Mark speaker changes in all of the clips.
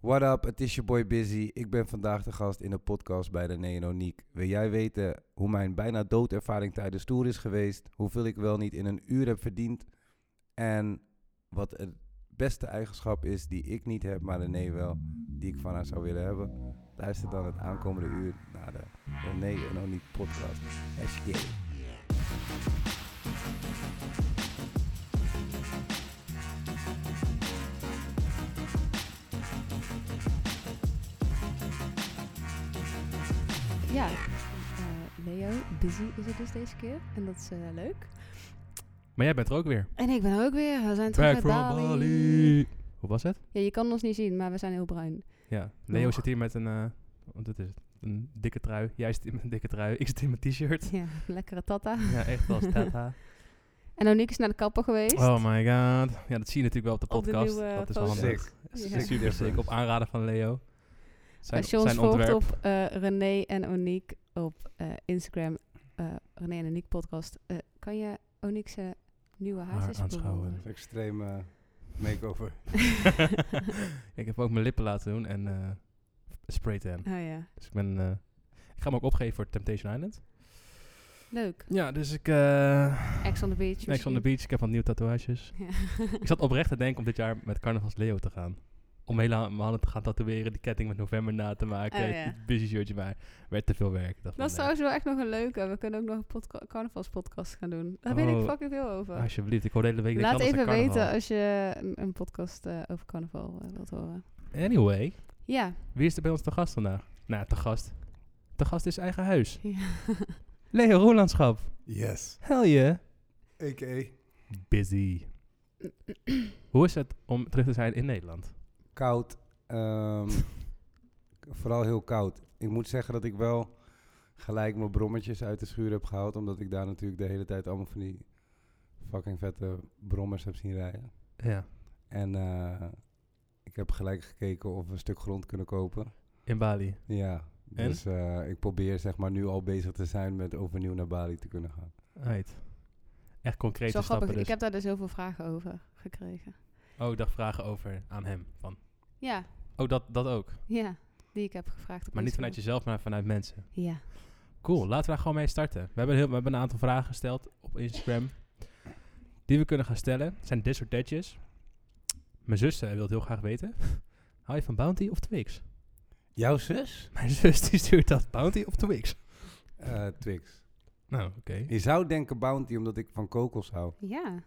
Speaker 1: What up, het is je boy Busy. Ik ben vandaag de gast in de podcast bij René en Oniek. Wil jij weten hoe mijn bijna doodervaring tijdens tour is geweest? Hoeveel ik wel niet in een uur heb verdiend? En wat het beste eigenschap is die ik niet heb, maar René wel, die ik van haar zou willen hebben? Luister dan het aankomende uur naar de René en Oniek podcast. Hashtag.
Speaker 2: Ja, eh, Leo, busy is het dus deze keer. En dat is eh, leuk.
Speaker 3: Maar jij bent er ook weer.
Speaker 2: En ik ben er ook weer. We zijn terug uit Bali.
Speaker 3: Hoe was het?
Speaker 2: Ja, je kan ons niet zien, maar we zijn heel bruin.
Speaker 3: Ja, Leo
Speaker 2: Nog.
Speaker 3: zit hier met een, eh, want dat is het, een dikke trui. Jij zit hier met een dikke trui. Ik zit hier met een t-shirt.
Speaker 2: Ja, lekkere tata.
Speaker 3: Ja, echt wel tata.
Speaker 2: En Oniek is naar de kapper geweest.
Speaker 3: Oh my god. Ja, dat zie je natuurlijk wel op de
Speaker 2: Op de
Speaker 3: podcast.
Speaker 2: nieuwe
Speaker 3: dat is wel
Speaker 2: foto.
Speaker 3: handig.
Speaker 1: Sick.
Speaker 2: Ja.
Speaker 1: Sick
Speaker 3: Super sick. Op
Speaker 1: difference.
Speaker 3: aanraden van Leo. Zijn,
Speaker 2: Als je ons
Speaker 3: zijn
Speaker 2: volgt
Speaker 3: ontwerp.
Speaker 2: op eh, René en Oniek op eh, Instagram, eh, René en Oniek podcast, eh, kan je Oniek zijn nieuwe
Speaker 3: Haar
Speaker 2: haar eens
Speaker 3: aanschouwen.
Speaker 2: bewonderen.
Speaker 1: Extreme eh, makeover.
Speaker 3: ik heb ook mijn lippen laten doen en eh spray tan.
Speaker 2: Oh ja,
Speaker 3: Dus ik ben, eh, ik ga hem ook opgeven voor Temptation Island.
Speaker 2: leuk.
Speaker 3: Ja, dus ik, eh
Speaker 2: Ex on the beach.
Speaker 3: Ex on the beach. Ik heb wat nieuwe tatoeages. Ik zat oprecht te denken om dit jaar met Carnavals Leo te gaan. Om hele maanden te gaan tatoeëren, die ketting met november na te maken,
Speaker 2: Oh,
Speaker 3: het
Speaker 2: ja.
Speaker 3: busy shirtje, maar werd te veel werk. Ik dacht
Speaker 2: Dat is
Speaker 3: van, nee.
Speaker 2: trouwens wel echt nog een leuke. We kunnen ook nog een podca- carnavalspodcast gaan doen. Daar weet
Speaker 3: Oh,
Speaker 2: ik fucking veel over.
Speaker 3: Alsjeblieft, ik hoor de hele week niks
Speaker 2: Laat
Speaker 3: anders dan
Speaker 2: even weten
Speaker 3: carnaval.
Speaker 2: als je een, een podcast eh, over carnaval eh, wilt horen.
Speaker 3: Anyway,
Speaker 2: Ja.
Speaker 3: wie is er bij ons te gast vandaag? Nou, te gast. Te gast is eigen huis.
Speaker 2: Ja.
Speaker 3: Leo Rolandschap.
Speaker 1: Yes.
Speaker 3: Hell yeah.
Speaker 1: A.k.a.
Speaker 3: Busy. Hoe is het om terug te zijn in Nederland?
Speaker 1: koud. ehm, k- vooral heel koud. Ik moet zeggen dat ik wel gelijk mijn brommetjes uit de schuur heb gehaald. Omdat ik daar natuurlijk de hele tijd allemaal van die fucking vette brommers heb zien rijden.
Speaker 3: Ja.
Speaker 1: En eh, ik heb gelijk gekeken of we een stuk grond kunnen kopen.
Speaker 3: In Bali.
Speaker 1: Ja,
Speaker 3: En?
Speaker 1: dus eh, ik probeer zeg maar nu al bezig te zijn met overnieuw naar Bali te kunnen gaan.
Speaker 3: Right. Echt concrete
Speaker 2: Zo
Speaker 3: stappen
Speaker 2: grappig. Ik
Speaker 3: dus.
Speaker 2: heb daar dus heel veel vragen over gekregen.
Speaker 3: Oh, ik dacht vragen over aan hem. Van.
Speaker 2: Ja,
Speaker 3: Oh, dat, dat ook.
Speaker 2: ja. Die ik heb gevraagd. Op
Speaker 3: Maar niet vanuit
Speaker 2: Instagram.
Speaker 3: jezelf, maar vanuit mensen.
Speaker 2: Ja.
Speaker 3: Cool, laten we daar gewoon mee starten. We hebben, heel, we hebben een aantal vragen gesteld op Instagram. Die we kunnen gaan stellen. Het zijn dit soort datjes. Mijn zus eh, wil het heel graag weten. Hou je van Bounty of Twix?
Speaker 1: Jouw zus?
Speaker 3: Mijn zus die stuurt dat. Bounty of Twix?
Speaker 1: Eh, Twix.
Speaker 3: Nou, oké.
Speaker 1: Je zou denken Bounty omdat ik van kokos hou.
Speaker 2: Ja.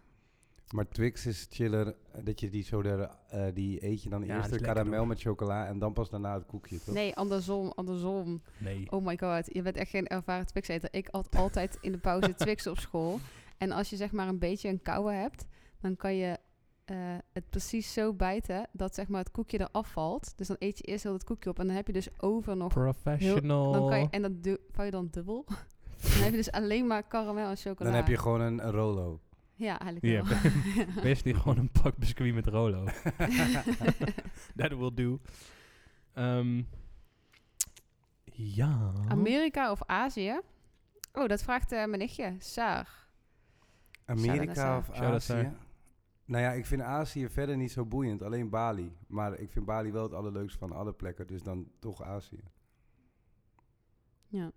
Speaker 1: Maar Twix is chiller, eh, dat je die zo de, eh, die eet je dan
Speaker 3: Ja, dat
Speaker 1: eerst
Speaker 3: is
Speaker 1: de
Speaker 3: lekkerder.
Speaker 1: karamel met chocola en dan pas daarna het koekje, toch?
Speaker 2: Nee, andersom, andersom.
Speaker 3: Nee.
Speaker 2: Oh my god, je bent echt geen ervaren Twix-eter. Ik had altijd in de pauze Twix op school. En als je zeg maar een beetje een kouwe hebt, dan kan je eh, het precies zo bijten dat zeg maar het koekje eraf valt. Dus dan eet je eerst heel dat koekje op en dan heb je dus over nog...
Speaker 3: Professional.
Speaker 2: Dan kan je, en dat du- vouw je dan dubbel. dan heb je dus alleen maar karamel en chocola.
Speaker 1: Dan heb je gewoon een, een Rolo.
Speaker 2: Ja, eigenlijk
Speaker 3: Ja,
Speaker 2: wel.
Speaker 3: Wees niet gewoon een pak biscuit met Rolo. That will do. Ehm, ja.
Speaker 2: Amerika of Azië? Oh, dat vraagt eh, mijn nichtje, Saar.
Speaker 1: Amerika of
Speaker 3: Shout-out
Speaker 1: Azië?
Speaker 3: daar.
Speaker 1: Nou ja, ik vind Azië verder niet zo boeiend, alleen Bali. Maar ik vind Bali wel het allerleukste van alle plekken, dus dan toch Azië.
Speaker 2: Ja.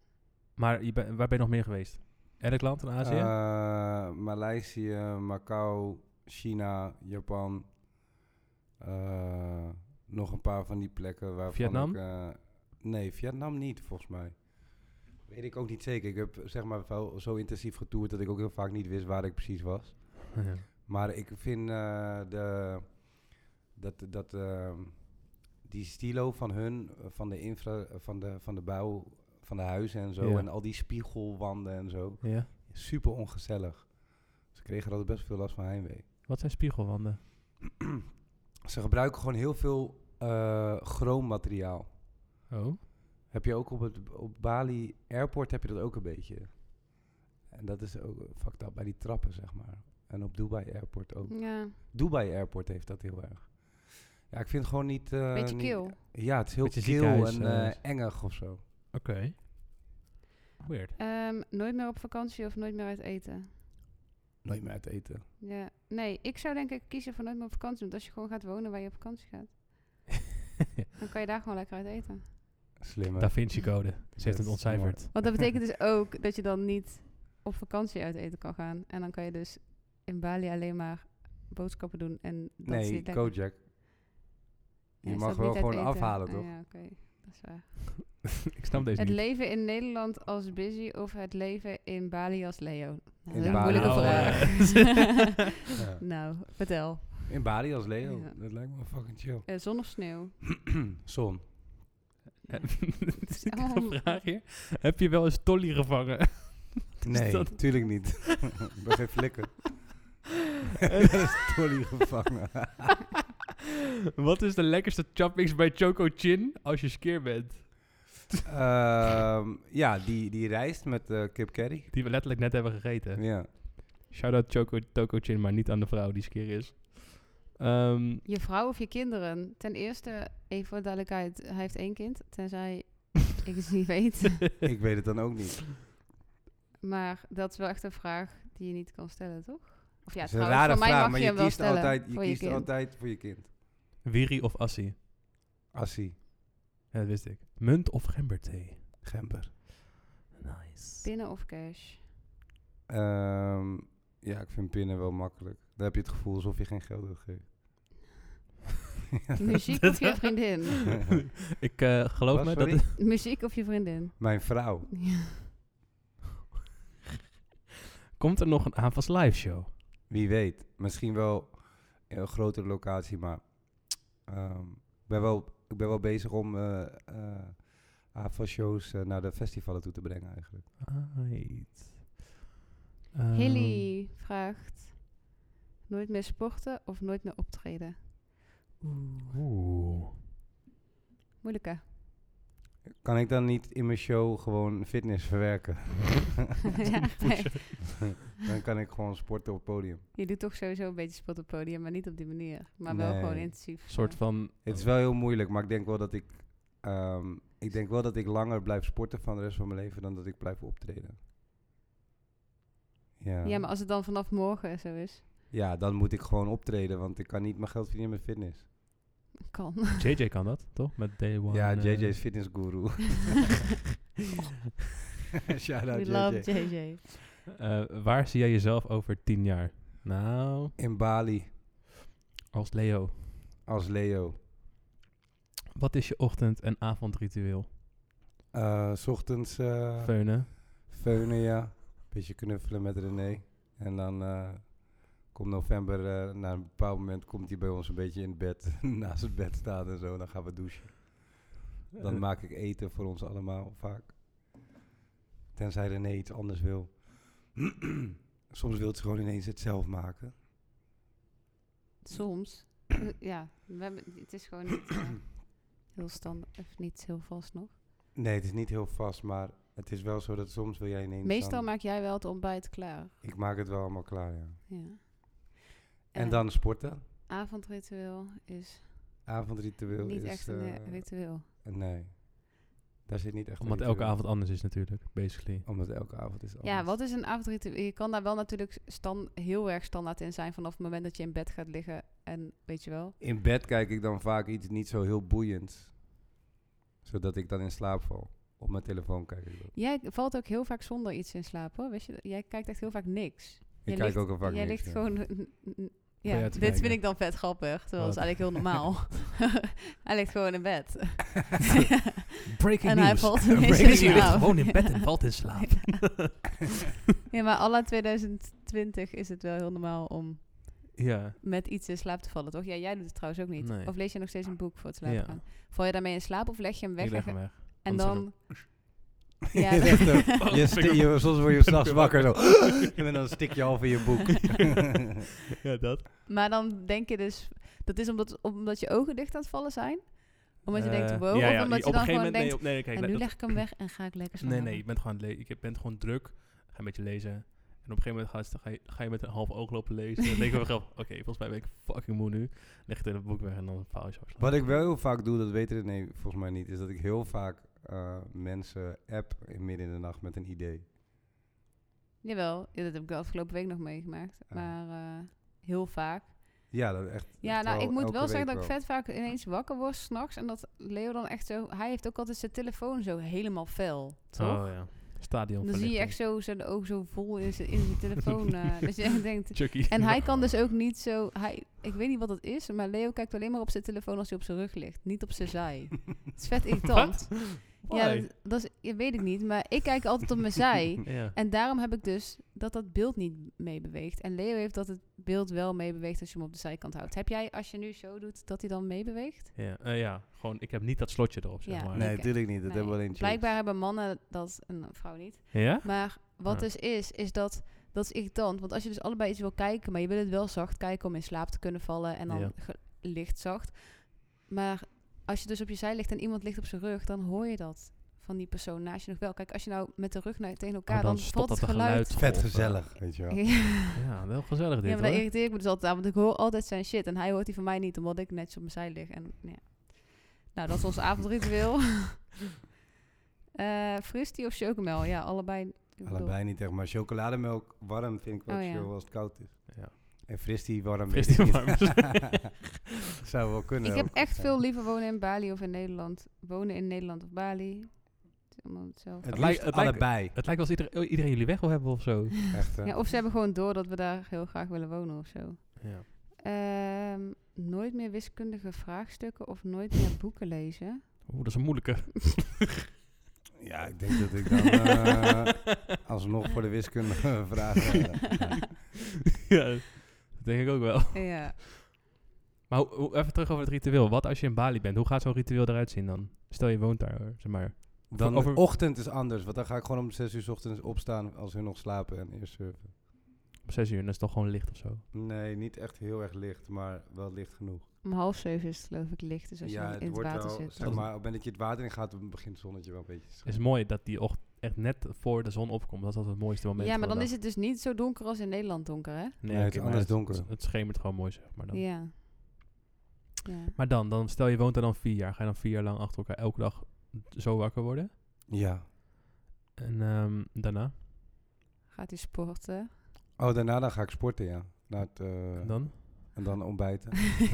Speaker 3: Maar je ben- waar ben je nog meer geweest? Elk land in Azië?
Speaker 1: Eh, Maleisië, Macau, China, Japan. Eh, nog een paar van die plekken waarvan
Speaker 3: Vietnam?
Speaker 1: ik... eh, nee, Vietnam niet, volgens mij. Weet ik ook niet zeker. Ik heb zeg maar wel zo intensief getoerd dat ik ook heel vaak niet wist waar ik precies was.
Speaker 3: Ja.
Speaker 2: Eh,
Speaker 1: Maar ik vind eh, de, dat, dat ehm, die stilo van hun, eh, van de infra, eh, van de, van de bouw, van de huizen en zo,
Speaker 3: Ja.
Speaker 1: en al die spiegelwanden en zo,
Speaker 3: Ja.
Speaker 1: super ongezellig. Ze kregen er altijd best veel last van heimwee.
Speaker 3: Wat zijn spiegelwanden?
Speaker 1: Ze gebruiken gewoon heel veel eh chroommateriaal.
Speaker 3: Oh.
Speaker 1: Heb je ook op, het, op Bali Airport heb je dat ook een beetje. En dat is ook eh, fucked up bij die trappen, zeg maar. En op Dubai Airport ook.
Speaker 2: Ja,
Speaker 1: Dubai Airport heeft dat heel erg. Ja, ik vind het gewoon niet... eh,
Speaker 2: beetje
Speaker 1: niet-
Speaker 2: kil.
Speaker 1: Ja, het is heel
Speaker 3: Beetje
Speaker 1: kil
Speaker 3: ziekenhuis,
Speaker 1: en
Speaker 3: eh,
Speaker 1: eh, engig of zo.
Speaker 3: Oké. Weird.
Speaker 2: Ehm, nooit meer op vakantie of nooit meer uit eten?
Speaker 1: Nooit meer uit eten.
Speaker 2: Ja. Nee, ik zou denk ik kiezen voor nooit meer op vakantie. Want als je gewoon gaat wonen waar je op vakantie gaat. Dan kan je daar gewoon lekker uit eten.
Speaker 1: Slimmer.
Speaker 3: Da Vinci code. Ze heeft
Speaker 1: Dat
Speaker 3: het
Speaker 1: is
Speaker 3: ontcijferd.
Speaker 2: Want dat betekent dus ook dat je dan niet op vakantie uit eten kan gaan. En dan kan je dus in Bali alleen maar boodschappen doen. En dat is
Speaker 1: nee,
Speaker 2: niet lekker.
Speaker 1: Kojak.
Speaker 2: Ja,
Speaker 1: je
Speaker 2: is
Speaker 1: mag
Speaker 2: dat
Speaker 1: wel
Speaker 2: niet uit
Speaker 1: gewoon
Speaker 2: eten?
Speaker 1: afhalen,
Speaker 2: Ah,
Speaker 1: toch?
Speaker 2: ja, oké. Dat is waar.
Speaker 3: Ik snap deze
Speaker 2: Het
Speaker 3: niet.
Speaker 2: leven in Nederland als busy of het leven in Bali als Leo?
Speaker 1: In
Speaker 2: Nou, dat is een
Speaker 1: Bali.
Speaker 2: moeilijke
Speaker 1: Nou,
Speaker 2: vraag.
Speaker 1: Ja.
Speaker 2: nou, vertel.
Speaker 1: In Bali als Leo.
Speaker 2: Ja.
Speaker 1: Dat lijkt me wel fucking chill.
Speaker 2: Eh, zon of sneeuw?
Speaker 1: Zon. Eh,
Speaker 3: Ja, dit is niet
Speaker 2: allemaal
Speaker 3: een
Speaker 2: moeilijk.
Speaker 3: vraag hier. Heb je wel eens Tolly gevangen?
Speaker 1: Nee,
Speaker 3: dat-
Speaker 1: tuurlijk niet. Ik ben geen flikker. dat is Tolly gevangen.
Speaker 3: Wat is de lekkerste chapmix bij Choco Chin als je skeer bent?
Speaker 1: Ehm, ja, die, die rijst met eh kip curry.
Speaker 3: Die we letterlijk net hebben gegeten.
Speaker 1: Ja.
Speaker 3: Shout-out Choco Choco Chin, maar niet aan de vrouw die skeer is. Ehm,
Speaker 2: Je vrouw of je kinderen? Ten eerste, even voor duidelijkheid, hij heeft één kind. Tenzij ik het niet weet.
Speaker 1: Ik weet het dan ook niet.
Speaker 2: Maar dat is wel echt een vraag die je niet kan stellen, toch? Of ja,
Speaker 1: het is een
Speaker 2: trouwens,
Speaker 1: rare
Speaker 2: voor mij
Speaker 1: vraag,
Speaker 2: mag
Speaker 1: maar
Speaker 2: je
Speaker 1: je
Speaker 2: hem wel
Speaker 1: kiest,
Speaker 2: stellen
Speaker 1: altijd, je
Speaker 2: voor je
Speaker 1: kiest
Speaker 2: kind.
Speaker 1: altijd voor je kind.
Speaker 3: Wiri of Assi?
Speaker 1: Assie,
Speaker 3: Ja, dat wist ik. Munt of gemberthee?
Speaker 1: gember.
Speaker 3: Nice.
Speaker 2: Pinnen of cash?
Speaker 1: Ehm, ja, ik vind pinnen wel makkelijk. Dan heb je het gevoel alsof je geen geld uitgeeft.
Speaker 2: Muziek of je vriendin?
Speaker 3: Ik eh, geloof
Speaker 1: Wat,
Speaker 3: me dat...
Speaker 1: sorry?
Speaker 3: het-
Speaker 2: Muziek of je vriendin?
Speaker 1: Mijn vrouw.
Speaker 2: Ja.
Speaker 3: Komt er nog een AFAS live show?
Speaker 1: Wie weet. Misschien wel in een grotere locatie, maar ehm, ik, ben wel, ik ben wel bezig om eh eh, AFA-shows eh, naar de festivalen toe te brengen eigenlijk.
Speaker 3: Right.
Speaker 2: Hilly vraagt: Nooit meer sporten of nooit meer optreden?
Speaker 3: Ehm, Oeh.
Speaker 2: Moeilijke.
Speaker 1: Kan ik dan niet in mijn show gewoon fitness verwerken?
Speaker 2: ja, nee.
Speaker 1: dan kan ik gewoon sporten op het podium.
Speaker 2: Je doet toch sowieso een beetje sport op het podium, maar niet op die manier. Maar wel
Speaker 1: Nee.
Speaker 2: gewoon intensief.
Speaker 3: Een soort
Speaker 2: eh,
Speaker 3: van...
Speaker 1: Het is wel heel moeilijk, maar ik denk wel dat ik... ehm, ik denk wel dat ik langer blijf sporten van de rest van mijn leven dan dat ik blijf optreden. Ja.
Speaker 2: Ja, maar als het dan vanaf morgen zo is,
Speaker 1: Ja, dan moet ik gewoon optreden, want ik kan niet mijn geld verdienen met fitness.
Speaker 2: kan.
Speaker 3: JJ kan dat, toch? Met Day One.
Speaker 1: ja,
Speaker 3: eh,
Speaker 1: JJ is fitness guru. Shout out
Speaker 2: We
Speaker 1: JJ.
Speaker 2: love JJ.
Speaker 3: eh, waar zie jij jezelf over tien jaar? Nou,
Speaker 1: In Bali
Speaker 3: als Leo.
Speaker 1: als Leo.
Speaker 3: Wat is je ochtend- en avondritueel?
Speaker 1: Eh, S ochtends eh,
Speaker 3: Feunen.
Speaker 1: feunen, ja. Beetje knuffelen met René. En dan eh, komt november, eh, na een bepaald moment komt hij bij ons een beetje in bed, naast het bed staan en zo. Dan gaan we douchen. Dan
Speaker 3: Eh,
Speaker 1: maak ik eten voor ons allemaal vaak. Tenzij René iets anders wil. Soms wil ze gewoon ineens het zelf maken.
Speaker 2: Soms. Eh, ja, we hebben, het is gewoon niet eh, heel standaard, of niet heel vast nog.
Speaker 1: Nee, het is niet heel vast, maar het is wel zo dat soms wil jij ineens...
Speaker 2: Meestal
Speaker 1: dan-
Speaker 2: maak jij wel het ontbijt klaar.
Speaker 1: Ik maak het wel allemaal klaar, ja.
Speaker 2: Ja.
Speaker 1: En
Speaker 2: Eh,
Speaker 1: dan sporten.
Speaker 2: Avondritueel is
Speaker 1: Avondritueel
Speaker 2: niet
Speaker 1: is...
Speaker 2: echt een eh,
Speaker 1: eh,
Speaker 2: ritueel.
Speaker 1: Nee. Daar zit niet echt een
Speaker 3: Omdat elke
Speaker 1: ritueel.
Speaker 3: avond anders is natuurlijk, basically.
Speaker 1: Omdat elke avond is
Speaker 2: Ja,
Speaker 1: anders.
Speaker 2: wat is een avondritueel? Je kan daar wel natuurlijk stan heel erg standaard in zijn vanaf het moment dat je in bed gaat liggen. En weet je wel,
Speaker 1: In bed kijk ik dan vaak iets niet zo heel boeiends. Zodat ik dan in slaap val. Op mijn telefoon kijk ik dan.
Speaker 2: jij valt ook heel vaak zonder iets in slaap hoor. Weet je, dat? jij kijkt echt heel vaak niks.
Speaker 1: Ik kijk ook al vaak
Speaker 2: Jij
Speaker 1: niks, ja.
Speaker 2: ligt gewoon.
Speaker 3: Ben
Speaker 2: Ja,
Speaker 3: jij
Speaker 2: dit
Speaker 3: te
Speaker 2: vind
Speaker 3: kijken?
Speaker 2: ik dan vet grappig. Terwijl het is
Speaker 3: Wat?
Speaker 2: eigenlijk heel normaal. hij ligt gewoon in bed.
Speaker 3: Breaking
Speaker 2: En hij news. valt ineens
Speaker 3: Breaking
Speaker 2: in
Speaker 3: news.
Speaker 2: slaap.
Speaker 3: Gewoon in bed en valt in slaap.
Speaker 2: ja, maar alla 2020 is het wel heel normaal om
Speaker 3: ja.
Speaker 2: met iets in slaap te vallen, toch? Ja, jij doet het trouwens ook niet.
Speaker 3: Nee.
Speaker 2: Of lees je nog steeds een boek voor het slapen
Speaker 3: Ja.
Speaker 2: gaan? Val je daarmee in slaap of leg je hem weg?
Speaker 3: Ik leg hem weg.
Speaker 2: En
Speaker 3: Anders
Speaker 2: dan...
Speaker 1: Ja,
Speaker 2: Ja,
Speaker 1: je
Speaker 2: dat-
Speaker 1: zegt ook, je sti- je- soms word je s'nachts wakker zo. en dan stik je half in je boek.
Speaker 3: ja, dat.
Speaker 2: maar dan denk je dus... Dat is omdat, omdat je ogen dicht aan het vallen zijn? Omdat je denkt, wow, of omdat je dan gewoon denkt...
Speaker 3: Nee, Eh, op, nee, kijk,
Speaker 2: en nu
Speaker 3: dat-
Speaker 2: leg ik hem weg en ga ik lekker
Speaker 3: nee,
Speaker 2: slapen.
Speaker 3: nee, je bent gewoon, aan het le- je bent gewoon druk. Ga een beetje lezen. En op een gegeven moment ga je, ga je, ga je met een half oog lopen lezen. En dan denk je wel, oké, volgens mij ben ik fucking moe nu. Leg het hele boek weg en dan faal je zo.
Speaker 1: Wat ik wel heel vaak doe, dat weet René volgens mij niet, is dat ik heel vaak eh, mensen app in midden in de nacht met een idee.
Speaker 2: Jawel, ja, dat heb ik de afgelopen week nog meegemaakt.
Speaker 1: Ah.
Speaker 2: Maar eh, heel vaak.
Speaker 1: Ja, dat echt.
Speaker 2: Ja,
Speaker 1: echt
Speaker 2: nou, ik moet
Speaker 1: elke
Speaker 2: wel zeggen
Speaker 1: week
Speaker 2: dat ik vet vaak ineens wakker word s'nachts. En dat Leo dan echt zo... Hij heeft ook altijd zijn telefoon zo helemaal fel, toch?
Speaker 3: Oh ja. Stadion.
Speaker 2: dan zie je echt zo zijn oog zo vol in zijn, in zijn telefoon. eh, dat je echt denkt...
Speaker 3: Chucky.
Speaker 2: En hij kan dus ook niet zo... Hij, ik weet niet wat het is, maar Leo kijkt alleen maar op zijn telefoon als hij op zijn rug ligt. Niet op zijn zij. Het is vet irritant. Ja,
Speaker 3: Why?
Speaker 2: dat, dat is, ja, weet ik niet. Maar ik kijk altijd op mijn zij.
Speaker 3: Ja.
Speaker 2: En daarom heb ik dus dat dat beeld niet meebeweegt. En Leo heeft dat het beeld wel meebeweegt als je hem op de zijkant houdt. Heb jij, als je nu zo doet, dat hij dan meebeweegt?
Speaker 3: Ja, eh, ja, gewoon ik heb niet dat slotje erop, zeg
Speaker 2: Ja.
Speaker 3: maar.
Speaker 1: Nee,
Speaker 2: Oké.
Speaker 1: natuurlijk niet. Dat
Speaker 2: Nee.
Speaker 1: hebben we alleen chicks.
Speaker 2: Blijkbaar hebben mannen dat en een vrouw niet.
Speaker 3: Ja?
Speaker 2: Maar wat
Speaker 3: Ah.
Speaker 2: dus is, is dat dat is irritant. Want als je dus allebei iets wil kijken, maar je wil het wel zacht kijken om in slaap te kunnen vallen en dan
Speaker 3: Ja.
Speaker 2: ge- licht zacht. Maar als je dus op je zij ligt en iemand ligt op zijn rug, dan hoor je dat van die persoon naast je nog wel. Kijk, als je nou met de rug naar, tegen elkaar,
Speaker 3: Oh,
Speaker 2: dan,
Speaker 3: stopt
Speaker 2: valt
Speaker 3: dat
Speaker 2: het
Speaker 3: de
Speaker 2: geluid.
Speaker 3: geluid. eh.
Speaker 1: Vet gezellig, weet je wel.
Speaker 3: Ja, wel gezellig dit
Speaker 2: ja, maar daar
Speaker 3: hoor.
Speaker 2: irriteer ik me dus altijd aan, want ik hoor altijd zijn shit. En hij hoort die van mij niet, omdat ik netjes op mijn zij lig. En, ja. Nou, dat is ons avondritueel. Eh Fristie of chocomel? Ja, allebei. ik bedoel-
Speaker 1: Allebei niet echt, maar chocolademelk warm vind ik wel
Speaker 2: Oh, ja.
Speaker 1: chill als het koud is.
Speaker 3: Ja.
Speaker 1: En fristie warm
Speaker 3: Fristie
Speaker 1: weet ik
Speaker 3: warm.
Speaker 1: niet. Zou wel kunnen.
Speaker 2: Ik heb
Speaker 1: ook.
Speaker 2: echt veel liever wonen in Bali of in Nederland. Wonen in Nederland of Bali. Het is allemaal hetzelfde.
Speaker 1: Het
Speaker 3: lijkt-
Speaker 1: lijkt
Speaker 3: het lijkt-
Speaker 1: allebei.
Speaker 3: Het lijkt alsof iedereen, iedereen jullie weg wil hebben of zo.
Speaker 1: Echt, hè?
Speaker 2: Ja, oh. of ze hebben gewoon door dat we daar heel graag willen wonen of zo.
Speaker 3: Ja.
Speaker 2: Ehm, nooit meer wiskundige vraagstukken of nooit meer boeken lezen.
Speaker 3: Oeh, dat is een moeilijke.
Speaker 1: Ja, ik denk dat ik dan eh, alsnog voor de wiskunde vraag.
Speaker 3: ja, dat denk ik ook wel.
Speaker 2: Ja.
Speaker 3: Maar hoe- hoe- even terug over het ritueel. Wat als je in Bali bent? Hoe gaat zo'n ritueel eruit zien dan? Stel je woont daar, hoor, zeg maar.
Speaker 1: Dan
Speaker 3: Over-
Speaker 1: ochtend is anders, want dan ga ik gewoon om 6 uur 's ochtends opstaan als hun nog slapen en eerst surfen.
Speaker 3: Om zes uur en dan is het toch gewoon licht of zo.
Speaker 1: Nee, niet echt heel erg licht, maar wel licht genoeg.
Speaker 2: Om half zeven is het geloof ik licht, dus als je
Speaker 1: ja,
Speaker 2: dan in het
Speaker 1: wordt
Speaker 2: water
Speaker 1: wel,
Speaker 2: zit.
Speaker 1: zeg maar, op het moment dat je het water in gaat, dan begint het zonnetje wel een beetje te
Speaker 3: Het is
Speaker 1: schijnen.
Speaker 3: mooi dat die ochtend echt net voor de zon opkomt. Dat is altijd het mooiste moment.
Speaker 2: ja,
Speaker 3: van
Speaker 2: maar
Speaker 3: de
Speaker 2: dan
Speaker 3: dag.
Speaker 2: is het dus niet zo donker als in Nederland donker, hè?
Speaker 3: Nee,
Speaker 1: Nee, het
Speaker 3: oké,
Speaker 1: is
Speaker 3: maar
Speaker 1: anders donker.
Speaker 3: Het, het schemert gewoon mooi, zeg maar dan.
Speaker 2: Ja. ja.
Speaker 3: Maar dan, dan, stel je woont er dan vier jaar. Ga je dan vier jaar lang achter elkaar elke dag zo wakker worden?
Speaker 1: Ja.
Speaker 3: En ehm, daarna?
Speaker 2: Gaat u sporten?
Speaker 1: Oh, daarna dan ga ik sporten, ja. Naar het, eh,
Speaker 3: En dan?
Speaker 1: en dan ontbijten.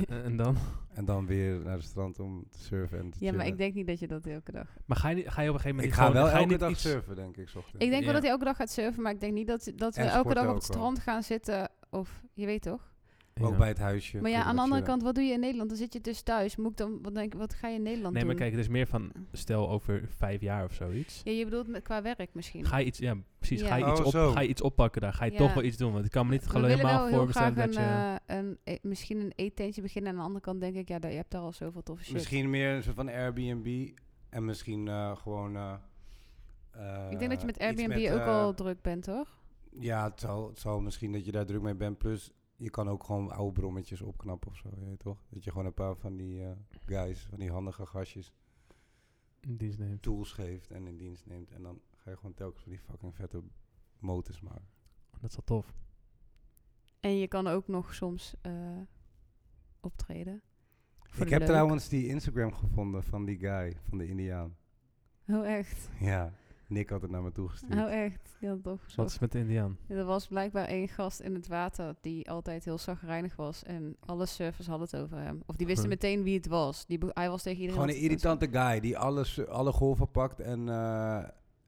Speaker 3: en en dan?
Speaker 1: en dan weer naar het strand om te surfen en te
Speaker 2: ja, maar
Speaker 1: chillen.
Speaker 2: ik denk niet dat je dat elke dag...
Speaker 3: Maar ga je, niet- ga je op een gegeven moment
Speaker 1: Ik
Speaker 3: niet
Speaker 1: ga
Speaker 3: gewoon-
Speaker 1: wel
Speaker 3: je
Speaker 1: elke
Speaker 3: niet
Speaker 1: dag
Speaker 3: iets-
Speaker 1: surfen, denk ik, 's ochtends.
Speaker 2: Ik denk
Speaker 3: Ja.
Speaker 2: wel dat hij elke dag gaat surfen, maar ik denk niet dat, dat we
Speaker 1: En
Speaker 2: elke
Speaker 1: sporten
Speaker 2: dag op
Speaker 1: ook
Speaker 2: het
Speaker 1: wel.
Speaker 2: strand gaan zitten. Of je weet toch?
Speaker 3: Ja.
Speaker 1: Ook bij het huisje.
Speaker 2: maar ja,
Speaker 1: kun je
Speaker 2: aan de
Speaker 1: wat
Speaker 2: andere
Speaker 1: chillen.
Speaker 2: kant, wat doe je in Nederland? Dan zit je dus thuis. Moet ik dan, wat, denk, wat ga je in Nederland
Speaker 3: Nee,
Speaker 2: doen?
Speaker 3: maar kijk, het is meer van, stel over vijf jaar of zoiets.
Speaker 2: Ja, je bedoelt met, qua werk misschien.
Speaker 3: Ga je iets, ja, precies.
Speaker 2: Ja.
Speaker 3: Ga, je
Speaker 1: Oh,
Speaker 3: iets op,
Speaker 1: zo.
Speaker 3: ga je iets oppakken daar? Ga je
Speaker 2: Ja.
Speaker 3: toch wel iets doen? Want ik kan me niet
Speaker 2: we willen wel
Speaker 3: helemaal
Speaker 2: heel graag
Speaker 3: voorstellen
Speaker 2: een,
Speaker 3: dat je...
Speaker 2: eh, een, eh, misschien een eetentje beginnen. Aan de andere kant denk ik, ja, daar- je hebt daar al zoveel toffe shit.
Speaker 1: Misschien meer een soort van Airbnb. En misschien eh, gewoon... eh, eh,
Speaker 2: ik denk dat je met
Speaker 1: iets
Speaker 2: Airbnb
Speaker 1: met,
Speaker 2: ook
Speaker 1: eh,
Speaker 2: al druk bent, hoor.
Speaker 1: Ja, het zal, het zal misschien dat je daar druk mee bent. Plus, je kan ook gewoon oude brommetjes opknappen of zo, je weet toch? Dat je gewoon een paar van die eh, guys, van die handige gastjes,
Speaker 3: in dienst neemt.
Speaker 1: tools geeft en in dienst neemt. En dan ga je gewoon telkens van die fucking vette motors maken.
Speaker 3: Dat is wel tof.
Speaker 2: En je kan ook nog soms eh, optreden. Voor
Speaker 1: ik
Speaker 2: de
Speaker 1: heb
Speaker 2: leuk.
Speaker 1: trouwens die Instagram gevonden van die guy, van de Indiaan.
Speaker 2: Oh, echt.
Speaker 1: Ja, Nick had het naar me toegestuurd.
Speaker 2: Oh, echt. Ja, toch.
Speaker 3: Wat is met de Indiaan?
Speaker 2: Ja, Er was blijkbaar één gast in het water die altijd heel zagrijnig was. En alle surfers hadden het over hem. Of die wisten
Speaker 3: Huh.
Speaker 2: meteen wie het was. Die, be- hij was tegen iedereen...
Speaker 1: Gewoon een
Speaker 2: aan het- aan
Speaker 1: irritante guy die alles, alle golven pakt en eh